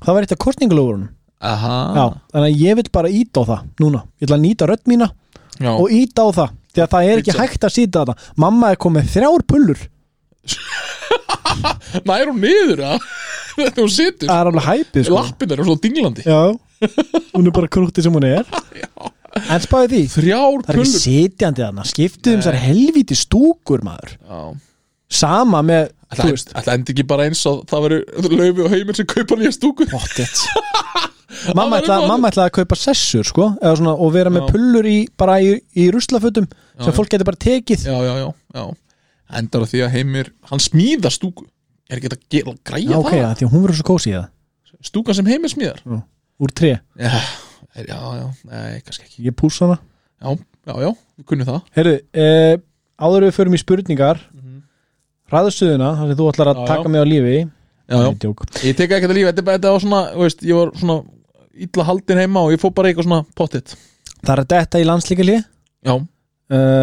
A: það var eitt af kostningalöfurunum Já,
B: Aha,
A: þannig að ég vil bara íta á það núna ég ætla að nýta rödd mína
B: já,
A: og íta á það því að það er ekki
B: Pizza.
A: hægt að sýta þetta mamma er komið þrjár pullur
B: nær hún niður að þetta hún situr,
A: það er alveg hæpið sko
B: lappin er svona dinglandi
A: Já, hún er bara krútti sem hún er en spáði því
B: þrjár
A: það er ekki
B: pulur
A: sitjandi þarna skiptið um þessar helvíti stúkur maður
B: Já.
A: sama með, þú veist
B: Það endi ekki bara eins og það verður laufi og heimir sem kaupa nýja stúku
A: Pottet Mamma
B: Það var
A: ætlaði
B: eitthvað.
A: mamma ætlaði að kaupa sessur sko, eða svona, og vera með
B: Já.
A: pullur í, bara í, í ruslafötum sem
B: já.
A: fólk getur bara tekið
B: Já, já, já, já Endar á því að heimir, hann smíða stúku Er ekki hægt að gera, græja
A: Já, ok,
B: það?
A: það, því að hún verður svo kósi í það
B: Stúkan sem heimir smíðar
A: Úr tré,
B: Já, er- já, já, nei, kannski ekki
A: ég púsa hana
B: Já, já, já, við kunnum það
A: Herru, eh, áður en við förum í spurningar mm -hmm. Ræðustuðuna, þar sem þú ætlar að
B: Mhm. Já, já.
A: taka mig á lífi
B: Já, já,
A: Nei, djók.
B: Mm. ég teka ekkert að lífa Þetta er bara þetta var svona, þú veist, ég var svona illa haldin heima og ég fór bara í eitthvað svona pottit
A: Það er þetta í landslíkali uh,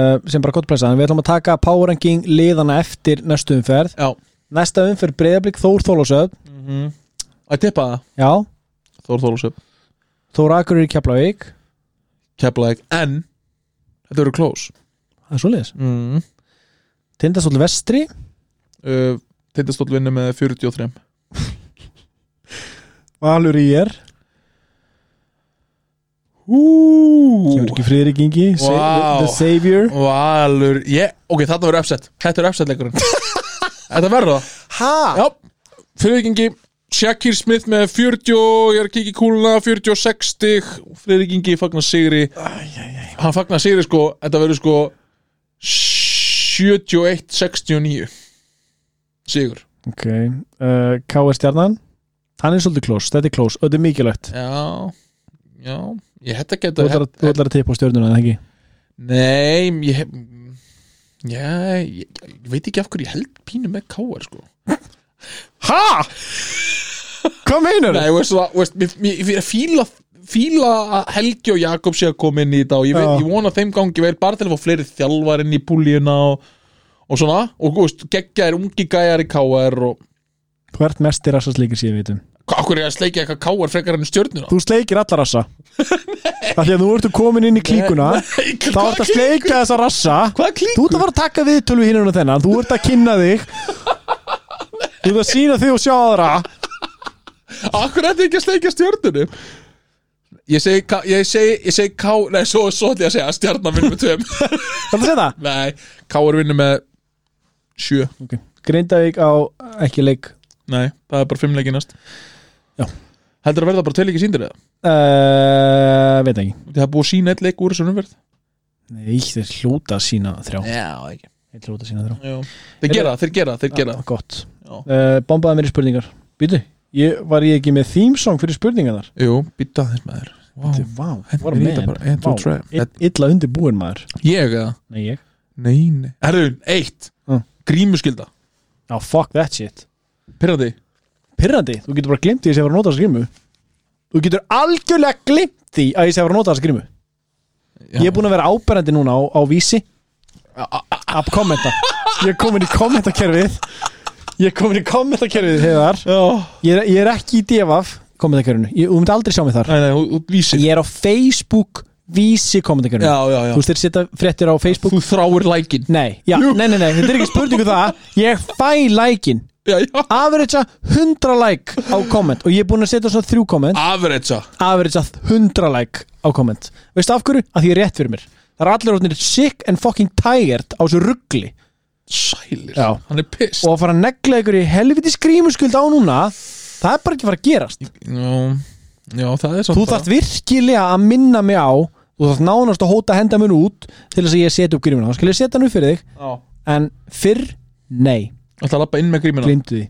B: Já,
A: sem bara gott pressa, en við ætlum að taka power ranking liðana eftir næstu umferð
B: já
A: Næsta umferð breyðablík Þór Þólasöf
B: Að tippa það,
A: Já,
B: Mhm. Þór Þólusöp
A: Þór Akureyri Keflavík
B: Keflaðið, en Þetta eru close
A: Það er svoleiðis
B: mm.
A: Tindastóll Vestri
B: uh, Tindastóll vinnu með 43
A: Valur í er Kemur
B: Hú
A: ekki Friðrik Ingi sa-
B: Vá.
A: The Savior
B: Valur, ég, ok, þetta verður upset Þetta er upset leikurinn Þetta verður það
A: Ha?
B: Já, fyrirvikingi Shakir Smith með 40 ég er að kíkja í kúluna, 46 stig fyrirvikingi fagnar sigri hann fagnar sigri sko, þetta verður sko 71-69 sigur
A: Ok uh, K.R. Stjarnan Hann er svolítið klós, þetta er klós og þetta er mikilvægt
B: já, já ég hætti
A: Þú
B: að geta
A: ætlar að- þú ætlar að tippa á stjörnuna en ekki
B: nei, ég já, ég, ég veit ekki af hverju ég held pínu með káar sko
A: Ha? Hvað meinar
B: Nei, veist, það, veist, mér, mér, mér fíla, fíla að Helgi og Jakob sé að koma inn í þetta og ég, veit,
A: Já.
B: ég vona að þeim gangi vel bara til að fá fleiri þjálfar inn í púlíuna og, og svona, og veist, geggja er ungi gæjar í KR og
A: Þú ert mest í rassasleikir síðan vitum
B: okkur er ég að sleikja eitthvað KR frekar enn stjörnuna
A: um. Þú sleikir alla rassa Það því að þú ertu komin inn í klíkuna
B: Nei,
A: Þá ert að sleika þessa rassa
B: Hvað klík?
A: Þú ert að fara að taka viðtölu við hinnan og þennan Þú ert að kynna þig Þú ert að sína þig og sjá aðra
B: Akkur er þetta ekki að sleikja stjörnunu? Ég segi, K- ég segi, ég segi K, nei, svo, svo ætla ég að segja að stjarnan vinnur með tveim
A: Þetta sé það
B: Nei, KR vinnur með sjö
A: okay. Grindavík á ekki leik
B: Nei, það er bara fimmleiki næst
A: Já.
B: Heldur að verða bara tveil ekki síndir eða?
A: uh, Veit ekki
B: Það er búið að sína eitt leik úr þessu umverð
A: Nei, þeir hljóta að sína þrjá
B: Já, ekki
A: Þeir hljóta að sína þrjá
B: Þeir gera, það, þeir gera, það, þeir gera
A: ah, Gott
B: Já.
A: uh, Bombaði mér í spurningar Býtu, ég, var ég ekki með theme song fyrir spurningarnar?
B: það Jú, býta þess með þér
A: Þetta
B: Vá,
A: er- Vá,
B: hendur
A: what a
B: í þetta
A: man.
B: bara, and to
A: Vá,
B: try.
A: ill- Illa undir búin maður
B: ég eða?
A: Nei, ég
B: Nei, nei Herru, eitt
A: Mm.
B: Grímuskylda
A: Já, fuck that shit
B: Pyrrandi
A: Pirrandi, þú getur bara glimt því að ég sé að fara að nota þessa grímu Þú getur algjörlega glimt því að ég sé að fara að nota þessa grímu Ég er búin að vera áberandi núna á, á vísi að kommenta Ég er komin í kommentakerfið Ég er komin í kommentakerfið hefðar
B: Já
A: ég er, ég er ekki í devaf kommentakerfinu Ég- Þú myndi aldrei sjá mig þar
B: Nei, nei, þú- þú vísir
A: Ég er á Facebook vísi
B: Já,
A: kommentakerfinu
B: já, já
A: Þú veist þeir setja fréttir á Facebook
B: Þú þráir lækin
A: Nei, já, nei, nei, nei, þetta er ekki spurningu það Ég fæ lækin
B: Já, já
A: Average 100 like á komment Og ég er búin að setja svona þrjú komment
B: Average
A: Average 100 like á komment Veistu af hverju? Að því ég er rétt fyrir mér Það er allir orðinir sick and fucking tired á þessu ruggli
B: Sælir
A: Já.
B: Hann er piss
A: og að fara að negla ykkur í helviti skrímuskuld á núna það er bara ekki að fara að gerast
B: Já, já, það er samt
A: þú
B: bara-
A: þarft virkilega að minna mig á þú þarft nánast að hóta að henda mér út til þess að ég seti upp grímuna, þá skal ég setja hann upp fyrir þig
B: Já
A: en fyrr, nei,
B: Það er að lappa inn með grímina
A: glimtu því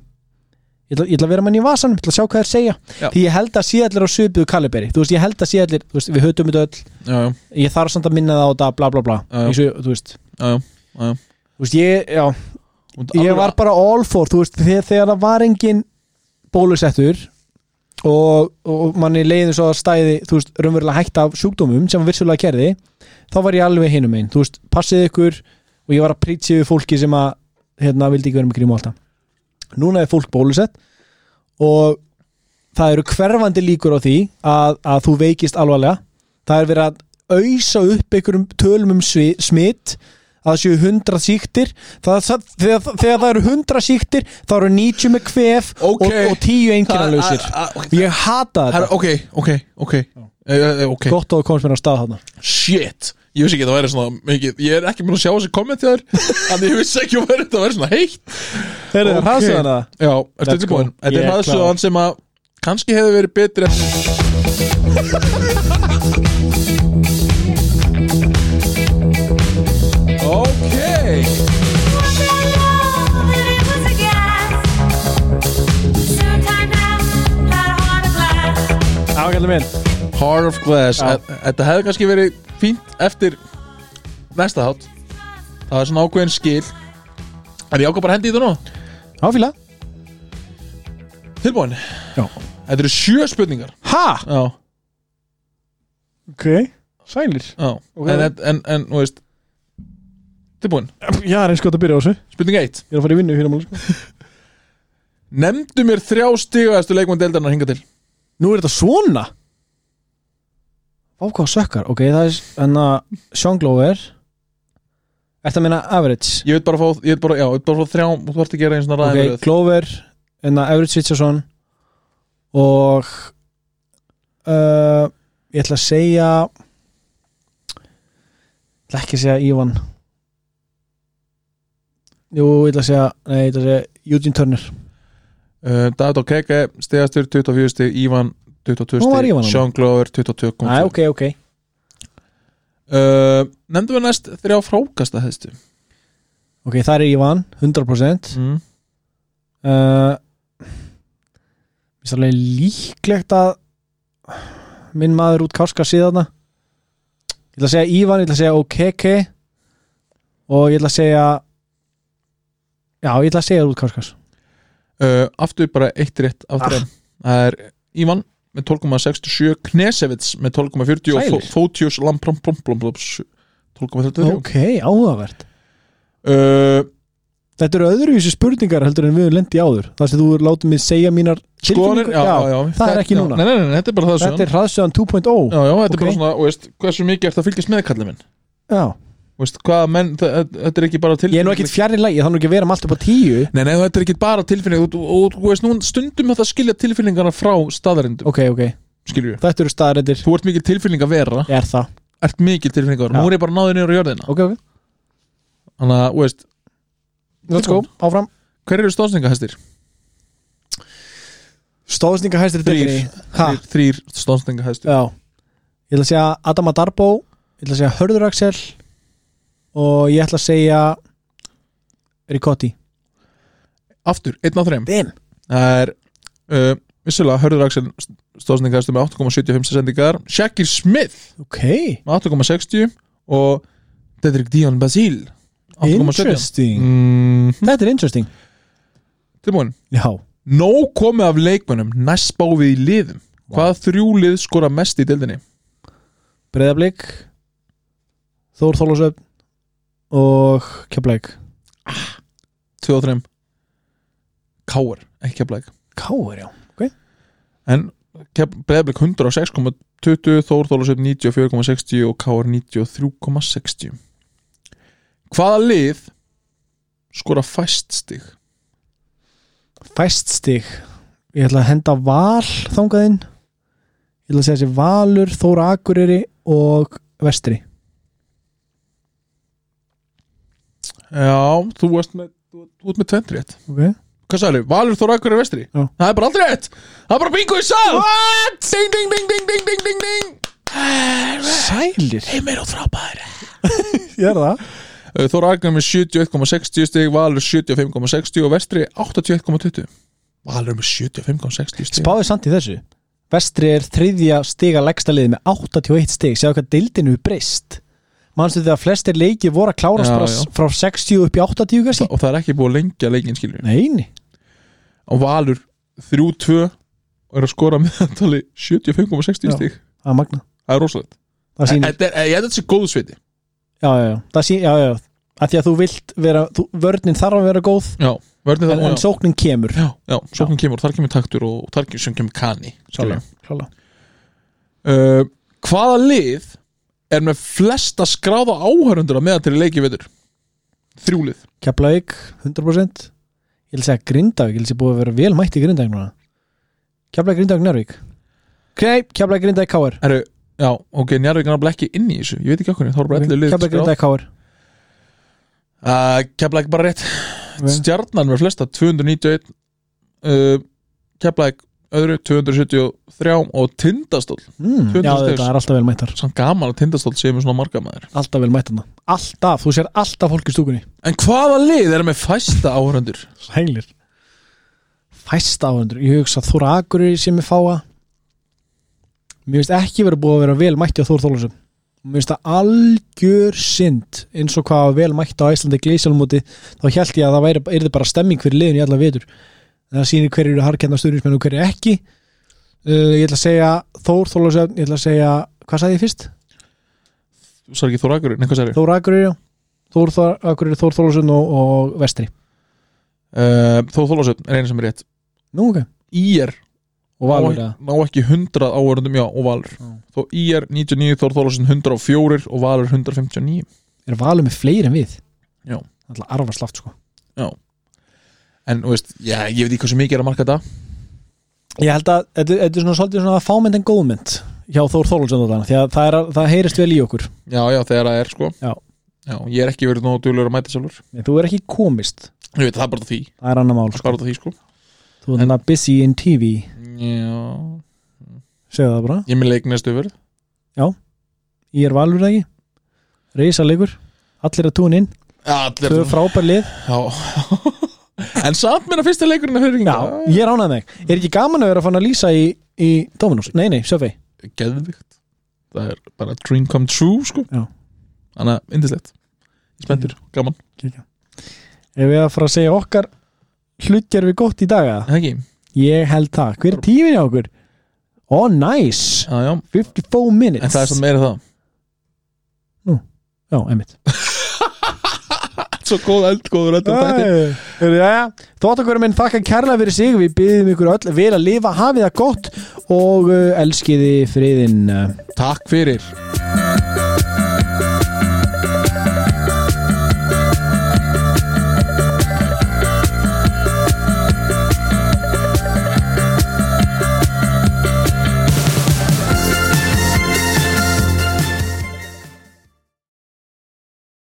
A: ég ætla, ég ætla að vera mann í vasanum, ég ætla að sjá hvað þér segja
B: Já.
A: því ég held að sé allir á svipuðu kaliberi þú veist, ég held að sé allir, þú veist, við hötum þetta öll
B: Já, já,
A: ég þarf samt að minna það á þetta, bla bla bla
B: Já, já.
A: eins og, þú veist,
B: já, já, já.
A: þú veist, ég, já ég var bara all for þú veist, þegar, þegar það var engin bólusettur og, og manni leiðin svo að stæði þú veist, raunverulega hægt af sjúkdómum sem hann vissulega kerði, þá var ég alveg hinum einn, þú veist, passið ykkur og ég var að prýtsið við fólki sem að hérna, vildi ekki vera með grímu alltaf núna er fólk bólusett og það eru hverfandi líkur á því að, að þú veikist alvarlega það er verið að auðsa upp einhverjum tölum um svi- smitt að það séu 100 síktir það, það, þegar, þegar það eru 100 síktir þá eru 90 með kvef
B: Ok.
A: og, og 10 einkennalausir
B: Það- að- að-
A: ég hata
B: Her,
A: þetta
B: ok, ok, ok e, e, ok,
A: gott að þú komst mér á stað þarna
B: shit ég vissi ekki að það væri svona mikið ég er ekki búin að sjá þessi komment hjá þér en ég vissi ekki að það væri svona heitt
A: Þeir eru
B: Ok.
A: hraðsöðan að
B: Já, ertu
A: Let's
B: tilbúin?
A: go.
B: Þetta
A: Ég
B: er
A: er
B: hraðsöðan sem að kannski hefði verið betri Ok
A: ágæðlega minn
B: Heart of Glass
A: Já.
B: Þe- Þetta hefði kannski verið fínt eftir næsta hát Það er svona ákveðin skil Er ég ákveð bara að hendi í þetta nú?
A: áfíla
B: Tilbúin
A: Já.
B: Þetta eru sjö spurningar
A: ha
B: Já,
A: ok sælir
B: já
A: Ok.
B: En, en, en, en, þú veist Tilbúin
A: já það er eins gott að byrja á þessu ég
B: Spurning 1
A: er að fara í vinnu hérna máli
B: Nemndu mér þrjá stigaðastu leikmann deildarnar hinga til
A: Nú er þetta svona Vá hvað sökkar Ok, það er enna Sean Glover Þetta meina average
B: Ég veit bara að fá, ég veit bara, já, ég veit bara að fá þrjá Þú þarfst að gera einn svona ræðin
A: Ok, Glover Enna average Svitsjason Og uh, Ég ætla að segja Ég ætla ekki að segja Ivan Jú, ég ætla að segja Nei, ég ætla að segja Eugene Turner
B: uh, David Okeke, stegastur 24 stig Ívan 22
A: Hún var Ívan, hún.
B: stig Sean Glover 22 kom
A: Nei, ok, ok
B: uh, Nefndu mér næst þrjá frákasta hefstu
A: Ok, það er Ivan, 100%
B: mm.
A: Uh, Mér finnst alveg líklegt að minn maður út káska síðana Ég ætla að segja Ívan, ég ætla að segja OKK og ég ætla að segja Já, ég ætla að segja út káskas
B: uh, Aftur bara eitt rétt af
A: Ah.
B: þrjá Það er Ívan með 12,67 Knesevits með 12,40 og
A: Sælir.
B: Fó- Fótius Lampromplomplomplops 12,33
A: Ok, áhugavert
B: uh,
A: Þetta eru öðruvísi spurningar heldur en við höfum lendi áður Það sem þú er látið mig segja mínar
B: Skoðanir,
A: tilfinningar-
B: já, já, já
A: það er ekki
B: já,
A: núna.
B: Nei, nei, nei, þetta er bara það
A: Þetta
B: sögum
A: er hraðsöðan 2.0
B: Já, já, þetta er bara
A: Ok.
B: svona, og veist, hversu mikið ert að fylgjast með kallið minn
A: Já,
B: veist, hvaða menn, þa- þa- þetta er ekki bara tilfinning
A: ég er nú ekkert fjarri lægi, það er nú ekki að vera um allt upp á 10
B: Nei, nei, þetta er ekki bara tilfinning og, og, og þú veist, nú stundum þetta skilja tilfinningarna frá staðarindum,
A: Ok, ok,
B: skilju
A: þetta eru staðarendir
B: Þú ert mikið tilfinning að vera,
A: Ég er það
B: ert mikið tilfinning að vera
A: Já.
B: Nú er ég bara náðið niður á jörðina
A: Ok, ok,
B: Þannig að, þú veist,
A: let's go, áfram
B: hver eru stónstingahestir?
A: Stóðsninga hæstir
B: Þrír.
A: ha,
B: Þrír, þrír stónstingahestir
A: já Ég ætla að segja Adama Darbo Ég ætla að segja Hörður Axel Og ég ætla að segja Ricotti
B: Aftur, einn á þreim
A: Bim
B: Það er, uh, vissulega, Hörður Axel stónstingahestir með 8,75 sendingar Shakir Smith
A: Ok,
B: með 8,60 og Dedrick Dion Basile 8,70
A: interesting
B: mm,
A: Þetta er interesting
B: Tilbúin
A: Já,
B: Nóg komið af leikmönnum næst báfið í liðum Hvaða þrjú lið skora mest í deildinni?
A: Breiðablík Þór Þólasöfn Og Keflæk
B: Tvö og þreim Káar, ekki keflæk
A: Káur, já
B: En breðablik 106,20 Þór Þólasöf 94,60 og Káar 93,60 Hvaða lið skora fæst stig?
A: Fæst stig Ég ætla að henda val þangaðinn Ég ætla að segja þessi valur Þóra Akureyri og Vestri
B: Já, þú varst með þú þú ert með tvent rétt
A: Ok
B: Hvað sagði, Valur Þór Akur er vestri?
A: Já.
B: Það er bara aldrei rétt Það er bara bingo í sal What? Eh, Ding, ding, ding, ding, ding, ding, ding, ding
A: Sælir
B: Heimir og frábæri
A: Ég er það
B: Eh, Þór Akur með 71,60 stig Valur 75,60 og vestri 81,20 Valur með 75,60 stig
A: Spáðið samt í þessu Vestri er þriðja stiga leggsta liðið með 81 stig Sjáðu hvað deildinu er breyst Manstu þegar flestir leiki voru að klárast
B: Já,
A: bara
B: já.
A: frá 60 upp í 80 kannski?
B: og það er ekki búið að lengja leikinn skilur
A: Neini
B: og Valur 3-2 og er að skora með antali 75,60
A: Já.
B: stík
A: Það er magna
B: það er rosalegt
A: Það
B: En
A: sýnir
B: þetta er- ég held að þetta sé góðu sveiti
A: Já, já, já Það sýnir, já, já, já Af því að þú vilt vera þú, Vörnin þarf að vera góð
B: já, verðin
A: En,
B: það
A: en sóknin kemur
B: já, já, sóknum kemur, þar kemur taktur og og þar kemur sem kemur kani skilur.
A: Klála
B: uh, hvaða lið er með flesta skráða áhörundur að meða til leiki veitur þrjú lið
A: Keflavík, 100% Ég vil segja Grindavík, ég vil segja búið að vera vel mætt í Grindavík núna Keflavík, Grindavík, Njárvík Nei, Keflavík, Grindavík, KR
B: Heru, já, ok, Njarvík er nefnilega ekki inn í þessu ég veit ekki okkur, þá er bara allir lið
A: Keflavík, Grindavík, KR
B: uh, Keflæk bara rétt
A: Vel.
B: stjarnan með flesta 291 uh, Keflæk öðru 273 og tindastóll
A: mm, Já,
B: 200 stigs.
A: þetta er alltaf vel mættar
B: samt gaman að tindastóll sé með svona marga maður
A: Alltaf vel mættar Alltaf, þú sér alltaf fólk í stúkunni
B: en hvaða lið er með fæsta áhörundur
A: Hæglir Fæsta áhendur, ég hugsa að Þóra Akureyri sem ég fáa Mér finnst ekki verið búið að vera vel mætti á Þór Þólusum Mér finnst það algjör synd eins og hvað vel mætti á Æslandi gleysjálmúti þá held ég að það væri, yrði bara stemming fyrir liðin í alla vetur En það sýnir hverju eru harkenna stuðnismenn og hverju ekki uh, Ég ætla að segja Þór Þólusum, ég ætla að segja hvað sagði ég fyrst?
B: þú sagði ekki Þór Akurinn, eitthvað sagði
A: Þóra Akureyri, já. Þór Þór- Akureyri, Þór Þólusum og, og Vestri
B: uh, Þór Þólasöfn er einu sem er rétt
A: Nú ok,
B: Ír
A: og
B: ná,
A: valur eða?
B: ná ekki 100 áhörundum já og Valur
A: Já.
B: þó Ír 99, Þór Þólasöfn 104 og Valur 159
A: er valið með fleiri en við
B: Já.
A: alltaf arfa slaft sko
B: en þú veist, já, ég veit ekki hversu mikið er að marka þetta
A: ég held að þetta þetta er svona svolítið svona fámynd en góðmynd hjá Þór Þórlundsson þarna því að það, er, að- það heyrist vel í okkur
B: já, já, þegar það er sko
A: Já.
B: Já, ég er ekki verið nógu duglegur að mæta sjálfur
A: en þú er ekki komist,
B: ég veit, það er bara því,
A: það er annar mál
B: það
A: sko.
B: er bara því sko
A: þú er þarna busy in TV
B: já,
A: segðu það bara,
B: ég er með leik næstu verð
A: ég er valur eða ekki reysalegur, allir að tún inn
B: allir,
A: þau frábær lið,
B: já en samt meina fyrsta leikurinn að fyrir
A: já, ég er ánægð með þig. er ekki gaman að vera fann að lýsa í, í Dominos, nei nei, Söfvei
B: geðvikt það er bara dream come true sko
A: Já.
B: þannig að indislegt spendur, gaman,
A: ef við að fara að segja okkar hlutgerfi gott í dag eða?
B: það ekki
A: ég held það, hver er tímin hjá okkur ó, oh, nice
B: já, já.
A: 54 minutes
B: en það er svona meira það
A: Já, einmitt
B: svo góð eldgóður öllum þetta
A: Jæja, Þóttakur minn þakka kærlega fyrir sig Við byggjum ykkur öll vel að lifa, hafið það gott Og uh, elskiði eh, friðinn uh,
B: takk fyrir